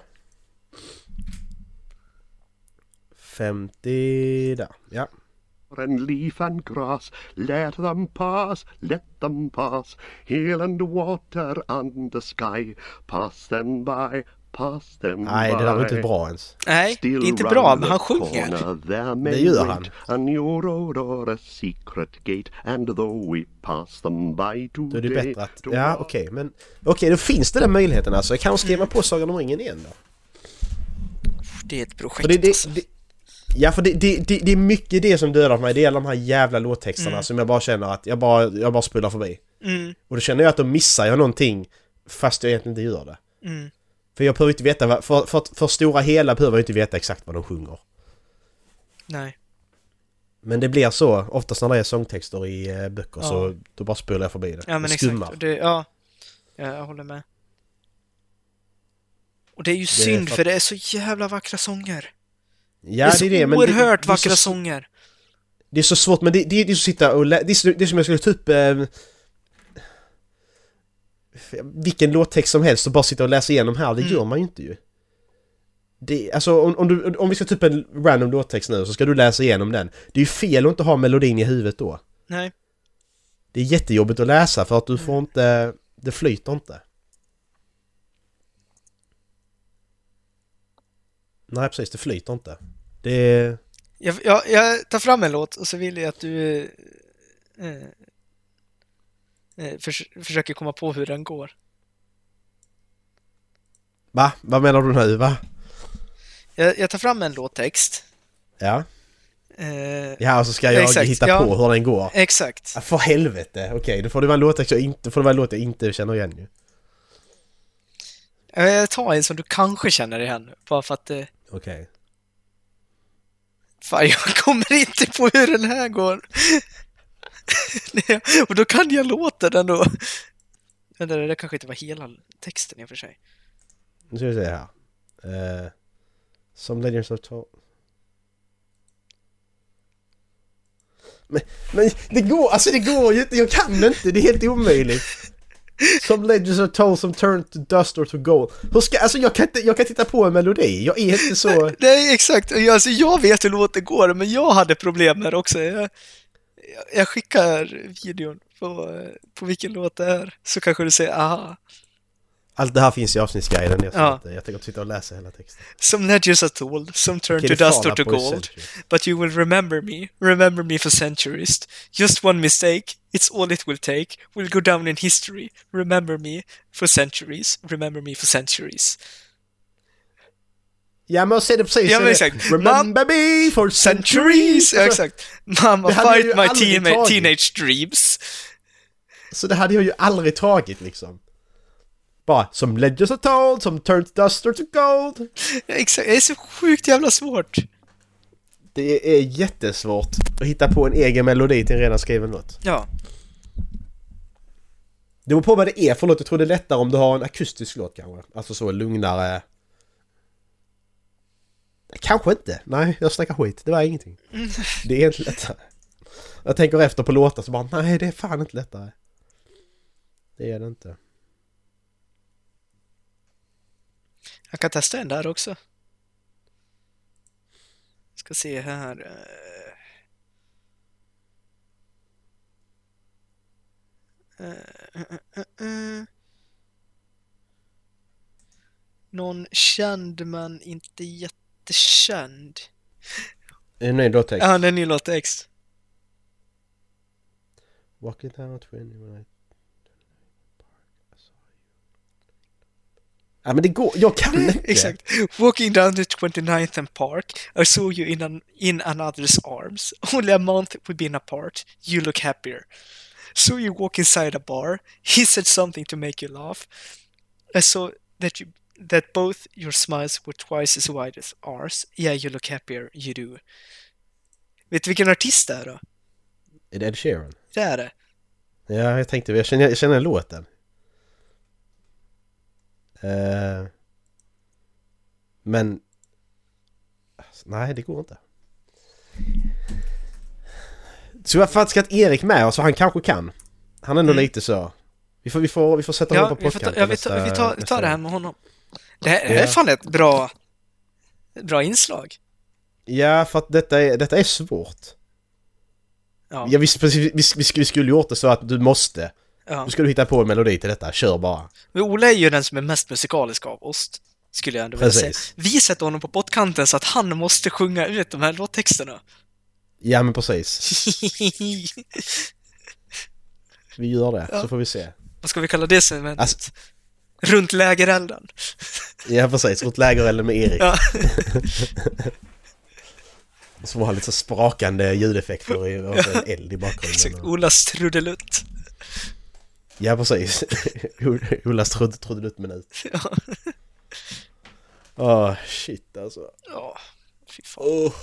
[SPEAKER 3] 50 där, ja.
[SPEAKER 5] and leaf and grass. Let them pass, let them pass. Hill and water and the sky. Pass them by, pass them
[SPEAKER 3] Nej,
[SPEAKER 5] by.
[SPEAKER 3] det där var inte bra ens.
[SPEAKER 2] Nej, det är inte bra, men han sjunger.
[SPEAKER 5] sjunger.
[SPEAKER 3] Det gör han.
[SPEAKER 5] A new road or a secret gate and though we pass them by today.
[SPEAKER 3] Då är det bättre att... Ja, okej, men... Okej, då finns det den möjligheten alltså. Jag kan skriva på Sagan om ringen igen då.
[SPEAKER 2] Det är ett projekt
[SPEAKER 3] För det,
[SPEAKER 2] alltså.
[SPEAKER 3] det, det, ja, för det, det, det, det är mycket det som dödar mig. Det är alla de här jävla låttexterna
[SPEAKER 2] Mm.
[SPEAKER 3] som jag bara känner att jag bara, jag bara spullar förbi. Och då känner jag att då missar jag någonting fast jag egentligen inte gör det.
[SPEAKER 2] Mm.
[SPEAKER 3] För jag behöver inte veta, vad- för, för, för stora hela behöver jag inte veta exakt vad de sjunger.
[SPEAKER 2] Nej.
[SPEAKER 3] Men det blir så, oftast när det är sångtexter i eh, böcker så då bara spullar jag förbi det.
[SPEAKER 2] Ja, men
[SPEAKER 3] jag
[SPEAKER 2] exakt. Och Det, ja, Ja, jag håller med. Och det är ju synd,
[SPEAKER 3] för att-
[SPEAKER 2] för det är så jävla vackra sånger.
[SPEAKER 3] Ja,
[SPEAKER 2] det är så
[SPEAKER 3] det- det-
[SPEAKER 2] oerhört
[SPEAKER 3] det är
[SPEAKER 2] vackra
[SPEAKER 3] så-
[SPEAKER 2] sånger.
[SPEAKER 3] Det är så svårt, men det, det, det är så att sitta och lä- det, är så, det är som jag skulle typ... Eh, vilken låttext som helst och bara sitta och läsa igenom här, det gör man ju inte ju. Det, alltså om, om, du, om vi ska typ en random låttext nu så ska du läsa igenom den. Det är ju fel att inte ha melodin i huvudet då.
[SPEAKER 2] Nej.
[SPEAKER 3] Det är jättejobbigt att läsa för att du får inte... Det flyter inte. Nej precis, det flyter inte. Det är...
[SPEAKER 2] Jag, jag, jag tar fram en låt och så vill jag att du eh, eh, förs försöker komma på hur den går.
[SPEAKER 3] Va? Vad menar du nu va?
[SPEAKER 2] Jag, jag tar fram en låttext.
[SPEAKER 3] Ja?
[SPEAKER 2] Eh,
[SPEAKER 3] Ja, och så ska jag
[SPEAKER 2] Exakt,
[SPEAKER 3] hitta
[SPEAKER 2] ja.
[SPEAKER 3] på hur den går.
[SPEAKER 2] Exakt.
[SPEAKER 3] Ja, för helvete! Okej, då får det vara en låt jag inte, får det vara en låt jag inte känner igen ju.
[SPEAKER 2] Eh, Jag tar en som du kanske känner igen, bara för att eh,
[SPEAKER 3] Okej.
[SPEAKER 2] Fan, jag kommer inte på hur den här går. Nej, och då kan jag låta den då. Men det där kanske inte var hela texten i och för sig.
[SPEAKER 3] Nu ska vi se här. Eh, Some Legends of Tol... Men, men det går, alltså det går ju inte, jag kan inte, det är helt omöjligt. Some Legends of Tol som turn to dust or to gold. Hur ska, alltså jag kan inte, jag kan titta på en melodi, jag är inte så...
[SPEAKER 2] Nej, exakt. Jag- Alltså, jag vet hur låten går, men jag hade problem med det också. Jag, jag- jag skickar videon på, eh, på vilken låt det är, så kanske du säger aha.
[SPEAKER 3] Allt det här finns i avsnittsguiden, jag,
[SPEAKER 2] Ja.
[SPEAKER 3] ja. jag tänker sitta och läsa hela texten.
[SPEAKER 2] Some ledgers are told, some turn to
[SPEAKER 3] Okej, det
[SPEAKER 2] dust or
[SPEAKER 3] falar
[SPEAKER 2] to
[SPEAKER 3] på i
[SPEAKER 2] gold.
[SPEAKER 3] century.
[SPEAKER 2] But you will remember me, remember me for centuries. Just one mistake, it's all it will take. Will go down in history. Remember me for centuries, remember me for centuries.
[SPEAKER 3] Ja men se det precis.
[SPEAKER 2] Ja, men
[SPEAKER 3] Det-
[SPEAKER 2] exakt.
[SPEAKER 3] Remember me for centuries!
[SPEAKER 2] Centuries! Ja, exakt. Mamma,
[SPEAKER 3] det hade jag
[SPEAKER 2] fight
[SPEAKER 3] ju
[SPEAKER 2] my
[SPEAKER 3] aldrig
[SPEAKER 2] teen-
[SPEAKER 3] tagit.
[SPEAKER 2] teenage dreams.
[SPEAKER 3] Så det hade jag ju aldrig tagit liksom. Bara som Legends of Told, som Turns Duster to Gold.
[SPEAKER 2] Ja, Exakt, det är så sjukt jävla svårt.
[SPEAKER 3] Det är jättesvårt att hitta på en egen melodi till en redan skriven låt.
[SPEAKER 2] Ja.
[SPEAKER 3] Det beror på vad det är för låt. Jag tror det är lättare om du har en akustisk låt kanske. Alltså så lugnare. Kanske inte. Nej, jag snackar skit. Det var ingenting. Det är inte lättare. Jag tänker efter på låtar så bara nej, det är fan inte lättare. Det är det inte.
[SPEAKER 2] Jag kan testa en där också. Ska se här. eh. Eh, eh, eh, eh. Någon känd men inte jättekänd.
[SPEAKER 3] Är du nöjd då text?
[SPEAKER 2] Ja, det är en ny låttext.
[SPEAKER 3] Walking down 20 when I... Ja men det går, jag kan inte!
[SPEAKER 2] Exakt. Walking down the 29th and Park, I saw you in, an, in another's arms. Only a month we've been apart. You look happier. Saw you walk inside a bar. He said something to make you laugh. I saw that you that both your smiles were twice as wide as ours. Yeah, you look happier, you do. Vet du vilken artist det är då?
[SPEAKER 3] Är det Ed Sheeran?
[SPEAKER 2] Det är det.
[SPEAKER 3] Ja jag tänkte, jag känner, jag känner låten. Eh, men... Alltså, Nej det går inte. Så jag faktiskt att Erik med oss, så han kanske kan. Han är ändå lite så. Vi får, vi får, vi får sätta
[SPEAKER 2] Mm.
[SPEAKER 3] honom
[SPEAKER 2] Ja,
[SPEAKER 3] på
[SPEAKER 2] vi, får
[SPEAKER 3] podcast.
[SPEAKER 2] ta, ja, vi, tar, vi tar, tar det här med honom. Det här, det här är
[SPEAKER 3] Ja.
[SPEAKER 2] fan ett bra, bra inslag.
[SPEAKER 3] Ja, för att detta är, detta är svårt.
[SPEAKER 2] Ja.
[SPEAKER 3] Ja, vi, precis, vi, vi, vi skulle gjort det så att du måste.
[SPEAKER 2] Ja.
[SPEAKER 3] Nu ska du hitta på en melodi till detta, kör bara.
[SPEAKER 2] Men Ola är ju den som är mest musikalisk av oss, skulle jag ändå vilja säga.
[SPEAKER 3] Precis.
[SPEAKER 2] Vi sätter honom på pottkanten så att han måste sjunga ut de här låttexterna.
[SPEAKER 3] Ja men precis. Vi gör det, så får vi se.
[SPEAKER 2] Vad ska vi kalla det segmentet?
[SPEAKER 3] Alltså-
[SPEAKER 2] Runt lägerelden.
[SPEAKER 3] Ja precis, runt lägerelden med Erik.
[SPEAKER 2] Ja.
[SPEAKER 3] Som har lite så sprakande ljudeffekter och och en eld i
[SPEAKER 2] Exakt,
[SPEAKER 3] bakgrunden. Och-
[SPEAKER 2] Olas trudelutt.
[SPEAKER 3] Ja precis. Olas trudelutt-minut.
[SPEAKER 2] Ja.
[SPEAKER 3] Åh, shit alltså.
[SPEAKER 2] ja, fy fan.
[SPEAKER 3] Åh. Oh.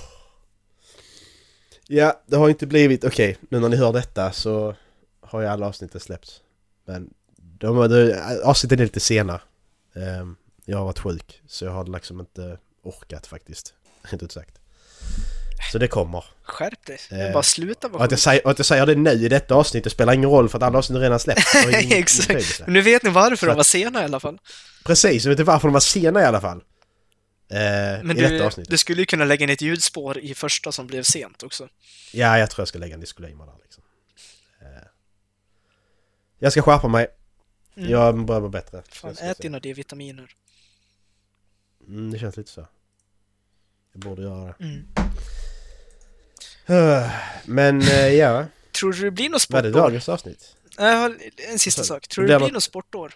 [SPEAKER 3] Ja, det har inte blivit... Okej, nu när ni hör detta så har ju alla avsnitten släppts. Men de, de, avsnitten är lite sena. Ehm, jag har varit sjuk, så jag har liksom inte orkat faktiskt. Rent ut sagt. Så det kommer.
[SPEAKER 2] Skärp dig.
[SPEAKER 3] Eh,
[SPEAKER 2] Bara sluta
[SPEAKER 3] Och
[SPEAKER 2] vara
[SPEAKER 3] att, jag
[SPEAKER 2] sjuk.
[SPEAKER 3] säger, och att jag säger det nu i detta avsnitt, det spelar ingen roll för att alla avsnitt redan släppts. Det har ju ingen
[SPEAKER 2] Exakt.
[SPEAKER 3] betydelse.
[SPEAKER 2] Men nu vet ni varför
[SPEAKER 3] Så
[SPEAKER 2] de
[SPEAKER 3] att-
[SPEAKER 2] var sena i alla fall.
[SPEAKER 3] Precis, jag vet inte varför de var sena i alla fall. Eh,
[SPEAKER 2] Men
[SPEAKER 3] I detta
[SPEAKER 2] du,
[SPEAKER 3] avsnitt.
[SPEAKER 2] du skulle ju kunna lägga in ett ljudspår i första som blev sent också.
[SPEAKER 3] Ja, jag tror jag ska lägga en disclaimer där liksom. Eh, Jag ska skärpa mig.
[SPEAKER 2] Mm.
[SPEAKER 3] Jag börjar vara bättre.
[SPEAKER 2] Fan,
[SPEAKER 3] Jag ska
[SPEAKER 2] ät
[SPEAKER 3] se.
[SPEAKER 2] dina D-vitaminer.
[SPEAKER 3] Mm, det känns lite så. Jag borde göra det.
[SPEAKER 2] Mm.
[SPEAKER 3] Eh, Men eh, ja,
[SPEAKER 2] Tror du det blir något
[SPEAKER 3] vad är det
[SPEAKER 2] sportår?
[SPEAKER 3] dagens avsnitt?
[SPEAKER 2] Nej, jag har en sista
[SPEAKER 3] Vad sa du?
[SPEAKER 2] sak. Tror du
[SPEAKER 3] Det
[SPEAKER 2] det
[SPEAKER 3] är
[SPEAKER 2] blir
[SPEAKER 3] något-
[SPEAKER 2] något sportår?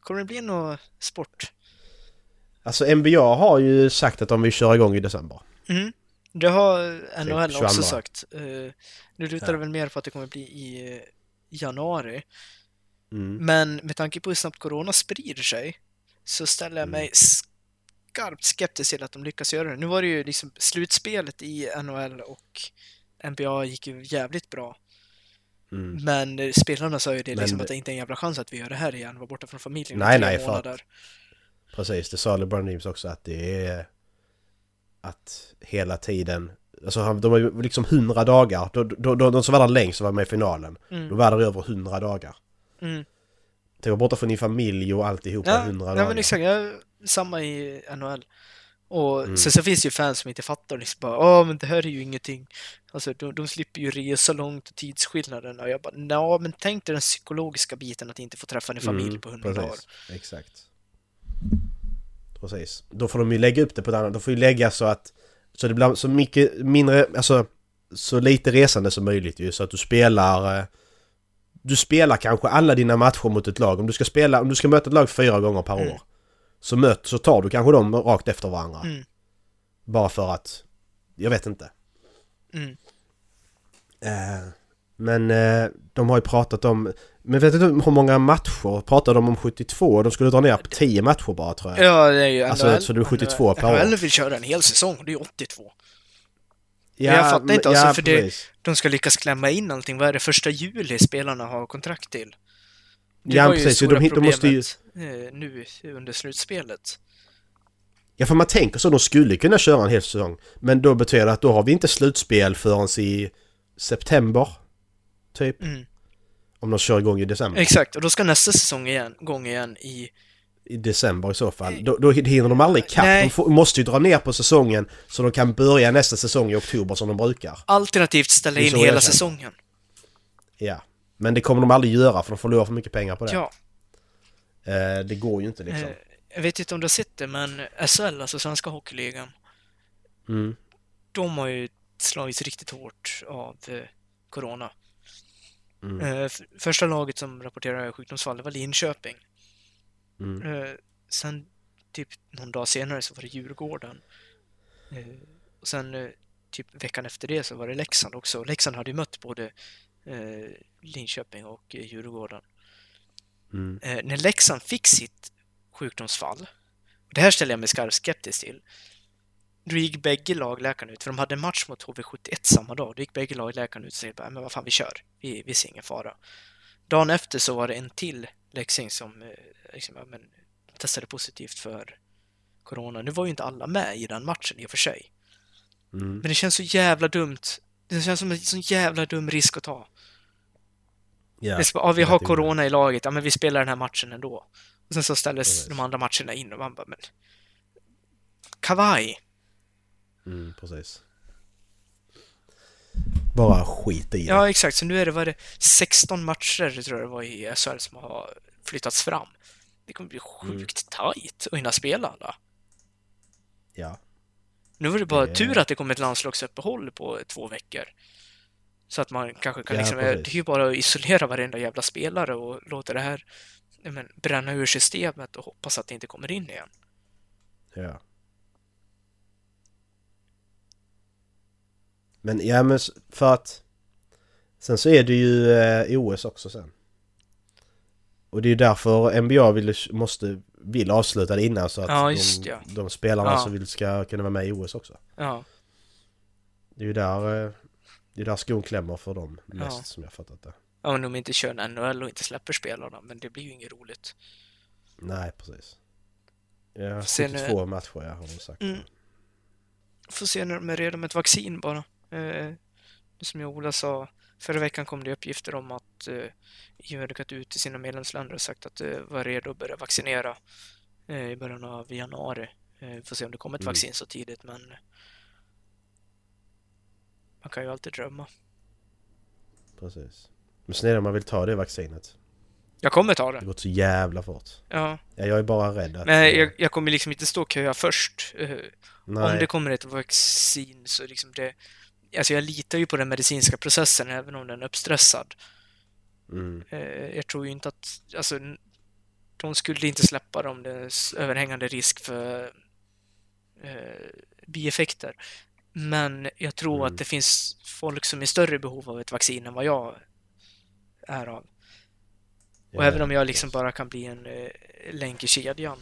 [SPEAKER 2] Kommer det bli något sport?
[SPEAKER 3] Alltså NBA har ju sagt att de vill köra igång i december.
[SPEAKER 2] Mm. Det har NHL
[SPEAKER 3] 22.
[SPEAKER 2] också sagt. Eh, Nu lutar
[SPEAKER 3] Ja.
[SPEAKER 2] det väl mer på att det kommer bli i eh, januari.
[SPEAKER 3] Mm.
[SPEAKER 2] Men med tanke på hur snabbt corona sprider sig så ställer jag
[SPEAKER 3] Mm.
[SPEAKER 2] mig skarpt skeptisk till att de lyckas göra det. Nu var det ju liksom slutspelet i NHL och NBA gick ju jävligt bra.
[SPEAKER 3] Mm.
[SPEAKER 2] Men eh, spelarna sa ju det
[SPEAKER 3] Men
[SPEAKER 2] liksom
[SPEAKER 3] det-
[SPEAKER 2] att det inte är en jävla chans att vi gör det här igen, var borta från familjen i
[SPEAKER 3] Nej,
[SPEAKER 2] tre
[SPEAKER 3] nej, för att-
[SPEAKER 2] månader.
[SPEAKER 3] Precis, det sa LeBron James också att det är att hela tiden, alltså han- de har ju liksom 100 dagar, de, de, de, de som var där längst och var med i finalen,
[SPEAKER 2] Mm.
[SPEAKER 3] de var där i över 100 dagar.
[SPEAKER 2] Mm.
[SPEAKER 3] Tänk vara borta från din familj och alltihopa i
[SPEAKER 2] Ja,
[SPEAKER 3] 100
[SPEAKER 2] nej,
[SPEAKER 3] dagar.
[SPEAKER 2] men exakt. Ja, samma i NHL. Och
[SPEAKER 3] Mm.
[SPEAKER 2] sen så finns det ju fans som inte fattar liksom bara Åh, men det här är ju ingenting. Alltså, de, de slipper ju resa långt och tidsskillnaden. Och jag bara, nja, men tänk dig den psykologiska biten att inte få träffa din familj på hundra dagar.
[SPEAKER 3] Mm, precis. Exakt. Precis. Då får de ju lägga upp det på ett annat, de får ju lägga så att så det blir så mycket mindre, alltså så lite resande som möjligt ju så att du spelar eh, du spelar kanske alla dina matcher mot ett lag. Om du ska spela, om du ska möta ett lag fyra gånger per
[SPEAKER 2] Mm.
[SPEAKER 3] år så, möt, så tar du kanske dem rakt efter varandra.
[SPEAKER 2] Mm.
[SPEAKER 3] Bara för att, jag vet inte.
[SPEAKER 2] Mm.
[SPEAKER 3] Eh, Men eh, de har ju pratat om... Men vet inte hur många matcher? Pratade de om 72? De skulle dra ner på 10 matcher bara tror jag.
[SPEAKER 2] Ja, det är ju
[SPEAKER 3] Alltså,
[SPEAKER 2] NHL.
[SPEAKER 3] så det är 72 per år.
[SPEAKER 2] NHL vill köra en hel säsong, det är ju 82. jag fattar inte, alltså, för det-
[SPEAKER 3] precis.
[SPEAKER 2] De ska lyckas klämma in allting. Vad är det första juli spelarna har kontrakt till? Det
[SPEAKER 3] Ja,
[SPEAKER 2] var ju
[SPEAKER 3] precis.
[SPEAKER 2] stora
[SPEAKER 3] De, de måste ju...
[SPEAKER 2] problemet eh, nu under slutspelet.
[SPEAKER 3] Ja, för man tänker så. De skulle kunna köra en hel säsong. Men då betyder det att då har vi inte slutspel förrän i september. Typ.
[SPEAKER 2] Mm.
[SPEAKER 3] Om de kör igång i december.
[SPEAKER 2] Exakt, och då ska nästa säsong igen, gång igen i...
[SPEAKER 3] I december i så fall. Då, då hinner de aldrig ikapp.
[SPEAKER 2] Nej.
[SPEAKER 3] De får, måste ju dra ner på säsongen så de kan börja nästa säsong i oktober som de brukar.
[SPEAKER 2] Alternativt ställa
[SPEAKER 3] Det är
[SPEAKER 2] in
[SPEAKER 3] så jag
[SPEAKER 2] hela
[SPEAKER 3] känner.
[SPEAKER 2] säsongen.
[SPEAKER 3] Ja. Men det kommer de aldrig göra för de förlorar för mycket pengar på det.
[SPEAKER 2] Ja,
[SPEAKER 3] Eh, det går ju inte liksom.
[SPEAKER 2] eh, jag vet inte om du har sett det, men SL, alltså Svenska Hockeyligan,
[SPEAKER 3] Mm.
[SPEAKER 2] de har ju slagits riktigt hårt av eh, Corona.
[SPEAKER 3] Mm.
[SPEAKER 2] Eh, f- första laget som rapporterade sjukdomsfall, det var Linköping.
[SPEAKER 3] Mm.
[SPEAKER 2] Eh, sen typ någon dag senare så var det Djurgården. Eh, och sen eh, typ veckan efter det så var det Leksand också. Och Leksand hade ju mött både eh, Linköping och eh, Djurgården.
[SPEAKER 3] Mm.
[SPEAKER 2] Eh, när Leksand fick sitt sjukdomsfall, och det här ställer jag mig skarpt skeptisk till, då gick bägge lagläkarna ut, för de hade en match mot HV71 samma dag, då gick bägge lagläkarna ut och sa bara, men vad fan vi kör, vi, vi ser ingen fara. Dagen efter så var det en till leksing som eh, liksom, ja, men, testade positivt för corona. Nu var ju inte alla med i den matchen i och för sig,
[SPEAKER 3] Mm.
[SPEAKER 2] men det känns så jävla dumt. Det känns som en sån jävla dum risk att ta.
[SPEAKER 3] Ja.
[SPEAKER 2] Det är så, bara, ja, vi
[SPEAKER 3] jag
[SPEAKER 2] har
[SPEAKER 3] vet inte.
[SPEAKER 2] corona i laget, ja men vi spelar den här matchen ändå. Och sen så ställdes
[SPEAKER 3] Precis.
[SPEAKER 2] de andra matcherna in och man bara, men... Kavaj!
[SPEAKER 3] Mm, precis. Bara skita i det.
[SPEAKER 2] Ja, exakt. Så nu är det, vad är det 16 matcher, tror jag det var, i SHL som har flyttats fram. Det kommer bli
[SPEAKER 3] Mm.
[SPEAKER 2] sjukt tajt att hinna spela alla.
[SPEAKER 3] Ja.
[SPEAKER 2] Nu var det bara
[SPEAKER 3] Det-
[SPEAKER 2] tur att det kom ett landslagsuppehåll på två veckor. Så att man kanske kan
[SPEAKER 3] Ja,
[SPEAKER 2] liksom, det
[SPEAKER 3] precis.
[SPEAKER 2] är ju bara att isolera varenda jävla spelare och låta det här ja, men, bränna ur systemet och hoppas att det inte kommer in igen.
[SPEAKER 3] Ja. Men ja men s- för att... Sen så är det ju eh, i OS också sen. Och det är ju därför NBA vill, måste, vill avsluta det innan så att
[SPEAKER 2] Ja, just
[SPEAKER 3] de,
[SPEAKER 2] det.
[SPEAKER 3] de spelarna
[SPEAKER 2] Ja.
[SPEAKER 3] som vill ska kunna vara med i OS också.
[SPEAKER 2] Ja,
[SPEAKER 3] Det är ju där, eh, det är där skon klämmer för dem mest
[SPEAKER 2] Ja.
[SPEAKER 3] som jag fattat det.
[SPEAKER 2] ja men om de inte kör en NHL och inte släpper spelarna, men det blir ju inget roligt.
[SPEAKER 3] Nej precis. Ja,
[SPEAKER 2] Sen, eh,
[SPEAKER 3] 72 matcher jag har de sagt.
[SPEAKER 2] Mm. Får se när de är redo med ett vaccin bara. Eh, det som jag och Ola sa, förra veckan kom det uppgifter om att eh, EU hade gått ut till sina medlemsländer och sagt att de var redo att börja vaccinera eh, i början av januari. Eh, vi får se om det kommer ett
[SPEAKER 3] Mm.
[SPEAKER 2] vaccin så tidigt, men man kan ju alltid drömma.
[SPEAKER 3] Precis. Men sen är det om man vill ta det vaccinet.
[SPEAKER 2] Jag kommer ta
[SPEAKER 3] Det har
[SPEAKER 2] det.
[SPEAKER 3] gått så jävla fort.
[SPEAKER 2] Ja.
[SPEAKER 3] Ja, jag är bara rädd att... eh,
[SPEAKER 2] Men jag, jag kommer liksom inte stå och köa först. Eh,
[SPEAKER 3] Nej,
[SPEAKER 2] Om det kommer ett vaccin så liksom det... Alltså jag litar ju på den medicinska processen även om den är uppstressad.
[SPEAKER 3] mm,
[SPEAKER 2] Eh, jag tror ju inte att... Alltså, n- de skulle inte släppa det om det är s- överhängande risk för eh, bieffekter. Men jag tror
[SPEAKER 3] Mm.
[SPEAKER 2] att det finns folk som är i större behov av ett vaccin än vad jag är av. Och
[SPEAKER 3] ja,
[SPEAKER 2] även om jag liksom bara kan bli en eh, länk i kedjan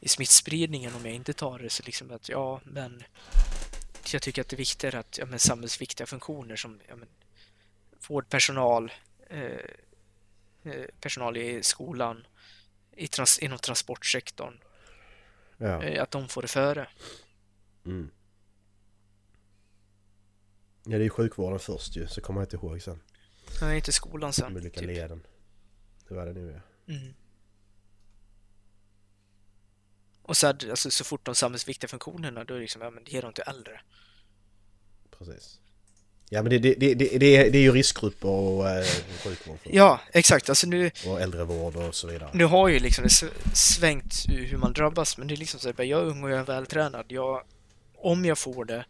[SPEAKER 2] i smittspridningen om jag inte tar det så liksom att ja, men jag tycker att det är viktigare att ja, men samhällsviktiga funktioner som ja, men, vårdpersonal, eh, eh, personal i skolan, i trans inom transportsektorn,
[SPEAKER 3] Ja.
[SPEAKER 2] eh, att de får det före.
[SPEAKER 3] Mm. ja, det är ju sjukvården först ju, så kommer jag inte ihåg sen.
[SPEAKER 2] Jag är inte i skolan
[SPEAKER 3] De
[SPEAKER 2] sen.
[SPEAKER 3] olika
[SPEAKER 2] typ.
[SPEAKER 3] leden. Det var det nu ja.
[SPEAKER 2] Mm. Och så, hade- alltså, så fort de samhällsviktiga funktionerna, då är det liksom, ja men ge dem till äldre.
[SPEAKER 3] Precis. Ja men det, det, det, det, det, är, det är ju riskgrupper och eh, sjukvård för,
[SPEAKER 2] Ja, exakt. Alltså nu,
[SPEAKER 3] och äldrevård och så vidare.
[SPEAKER 2] Nu har ju liksom det s- svängt ur hur man drabbas, men det är liksom så här, bara, jag är ung och jag är vältränad. Jag, om jag får det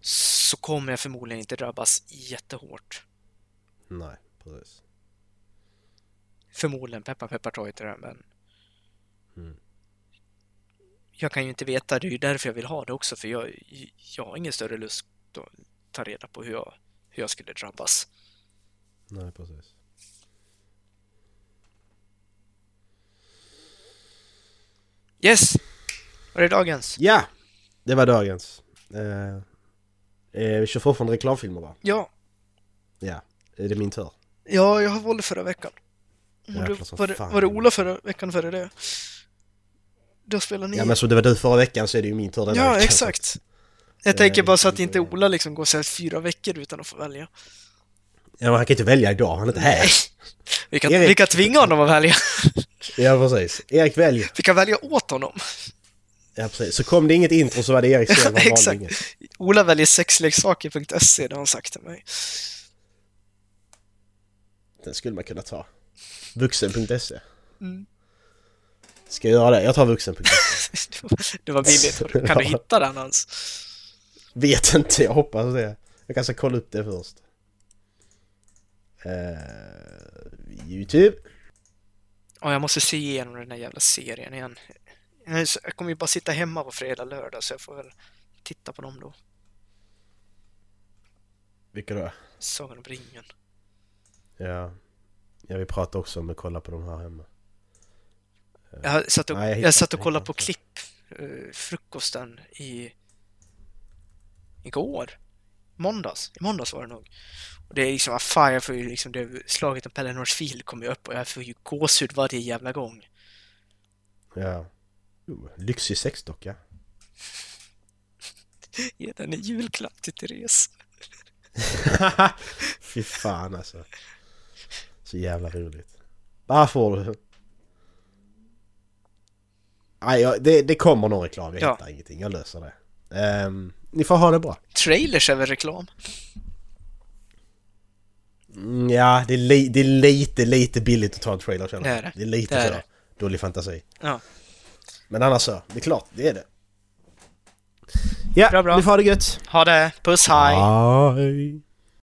[SPEAKER 2] så kommer jag förmodligen inte drabbas jättehårt.
[SPEAKER 3] Nej, precis.
[SPEAKER 2] Förmodligen, peppar peppar ta i trä, men...
[SPEAKER 3] Mm.
[SPEAKER 2] Jag kan ju inte veta, det är ju därför jag vill ha det också, för jag, jag har ingen större lust att ta reda på hur jag, hur jag skulle drabbas.
[SPEAKER 3] Nej, precis.
[SPEAKER 2] Yes! Var det dagens?
[SPEAKER 3] Ja! Det var dagens. Eh, eh, vi kör fortfarande reklamfilmer va?
[SPEAKER 2] Ja,
[SPEAKER 3] Ja. Är det min tur?
[SPEAKER 2] ja jag valde förra veckan. Var
[SPEAKER 3] Jäklar
[SPEAKER 2] det,
[SPEAKER 3] som
[SPEAKER 2] var, det,
[SPEAKER 3] fan.
[SPEAKER 2] var det Ola förra veckan före det? Då spelade ni...
[SPEAKER 3] Ja men som det var du förra veckan så är det ju min tur denna
[SPEAKER 2] Ja,
[SPEAKER 3] veckan.
[SPEAKER 2] exakt. Jag
[SPEAKER 3] Eh,
[SPEAKER 2] tänker bara så att
[SPEAKER 3] det-
[SPEAKER 2] inte Ola liksom går så här fyra veckor utan att få välja.
[SPEAKER 3] Ja men han kan ju inte välja idag, han är inte här.
[SPEAKER 2] Vi kan,
[SPEAKER 3] Erik.
[SPEAKER 2] vi kan tvinga honom att välja.
[SPEAKER 3] Ja precis. Erik välj.
[SPEAKER 2] Vi kan välja åt honom.
[SPEAKER 3] Ja precis. Så kom det inget intro så var det Erik själv han valde
[SPEAKER 2] Exakt.
[SPEAKER 3] inget.
[SPEAKER 2] Ola väljer sexleksaker.se, det har han sagt till mig.
[SPEAKER 3] Den skulle man kunna ta. Vuxen.se.
[SPEAKER 2] Mm.
[SPEAKER 3] E. Ska jag göra det? Jag tar vuxen.se.
[SPEAKER 2] Det var- Det var billigt. Kan du hitta den ens?
[SPEAKER 3] Vet inte, jag hoppas det. Jag kanske kolla upp det först. Eh, Youtube.
[SPEAKER 2] Ja, jag måste se igenom den där jävla serien igen. Jag är så- Jag kommer ju bara sitta hemma på fredag, lördag, så jag får väl titta på dem då.
[SPEAKER 3] Vilka då?
[SPEAKER 2] Sagan om ringen.
[SPEAKER 3] Ja. Ja vi pratade också om att kolla på de här hemma.
[SPEAKER 2] Jag satt och,
[SPEAKER 3] Nej, jag
[SPEAKER 2] jag
[SPEAKER 3] hittar
[SPEAKER 2] satt
[SPEAKER 3] inte,
[SPEAKER 2] och
[SPEAKER 3] jag
[SPEAKER 2] kollade
[SPEAKER 3] hittar
[SPEAKER 2] på
[SPEAKER 3] inte.
[SPEAKER 2] klipp eh, frukosten i igår. Måndags. I måndags var det nog. Och det är liksom, vad fan, jag får ju liksom, det slaget om Pelle Northfield kommer ju upp och jag får ju gåshud varje jävla gång.
[SPEAKER 3] Ja. Oh, lyxig sexdocka.
[SPEAKER 2] Ge den en julklapp till Therese.
[SPEAKER 3] Fy fan alltså. Så jävla roligt. Där får du. Nej, jag, det, det kommer någon reklam. Jag
[SPEAKER 2] Ja.
[SPEAKER 3] hittar ingenting. Jag löser det. Ehm, ni får ha det bra.
[SPEAKER 2] Trailers är väl reklam?
[SPEAKER 3] Mm, Ja, det är, li- det är lite, lite billigt att ta en trailer känner jag.
[SPEAKER 2] Det är det.
[SPEAKER 3] Det är lite
[SPEAKER 2] Det är
[SPEAKER 3] sådär.
[SPEAKER 2] det.
[SPEAKER 3] Dålig fantasi.
[SPEAKER 2] Ja.
[SPEAKER 3] Men annars så, det är klart, det är det. Ja,
[SPEAKER 2] Bra, bra.
[SPEAKER 3] ni får ha det gött.
[SPEAKER 2] Ha det! Puss, hej!
[SPEAKER 3] Hej.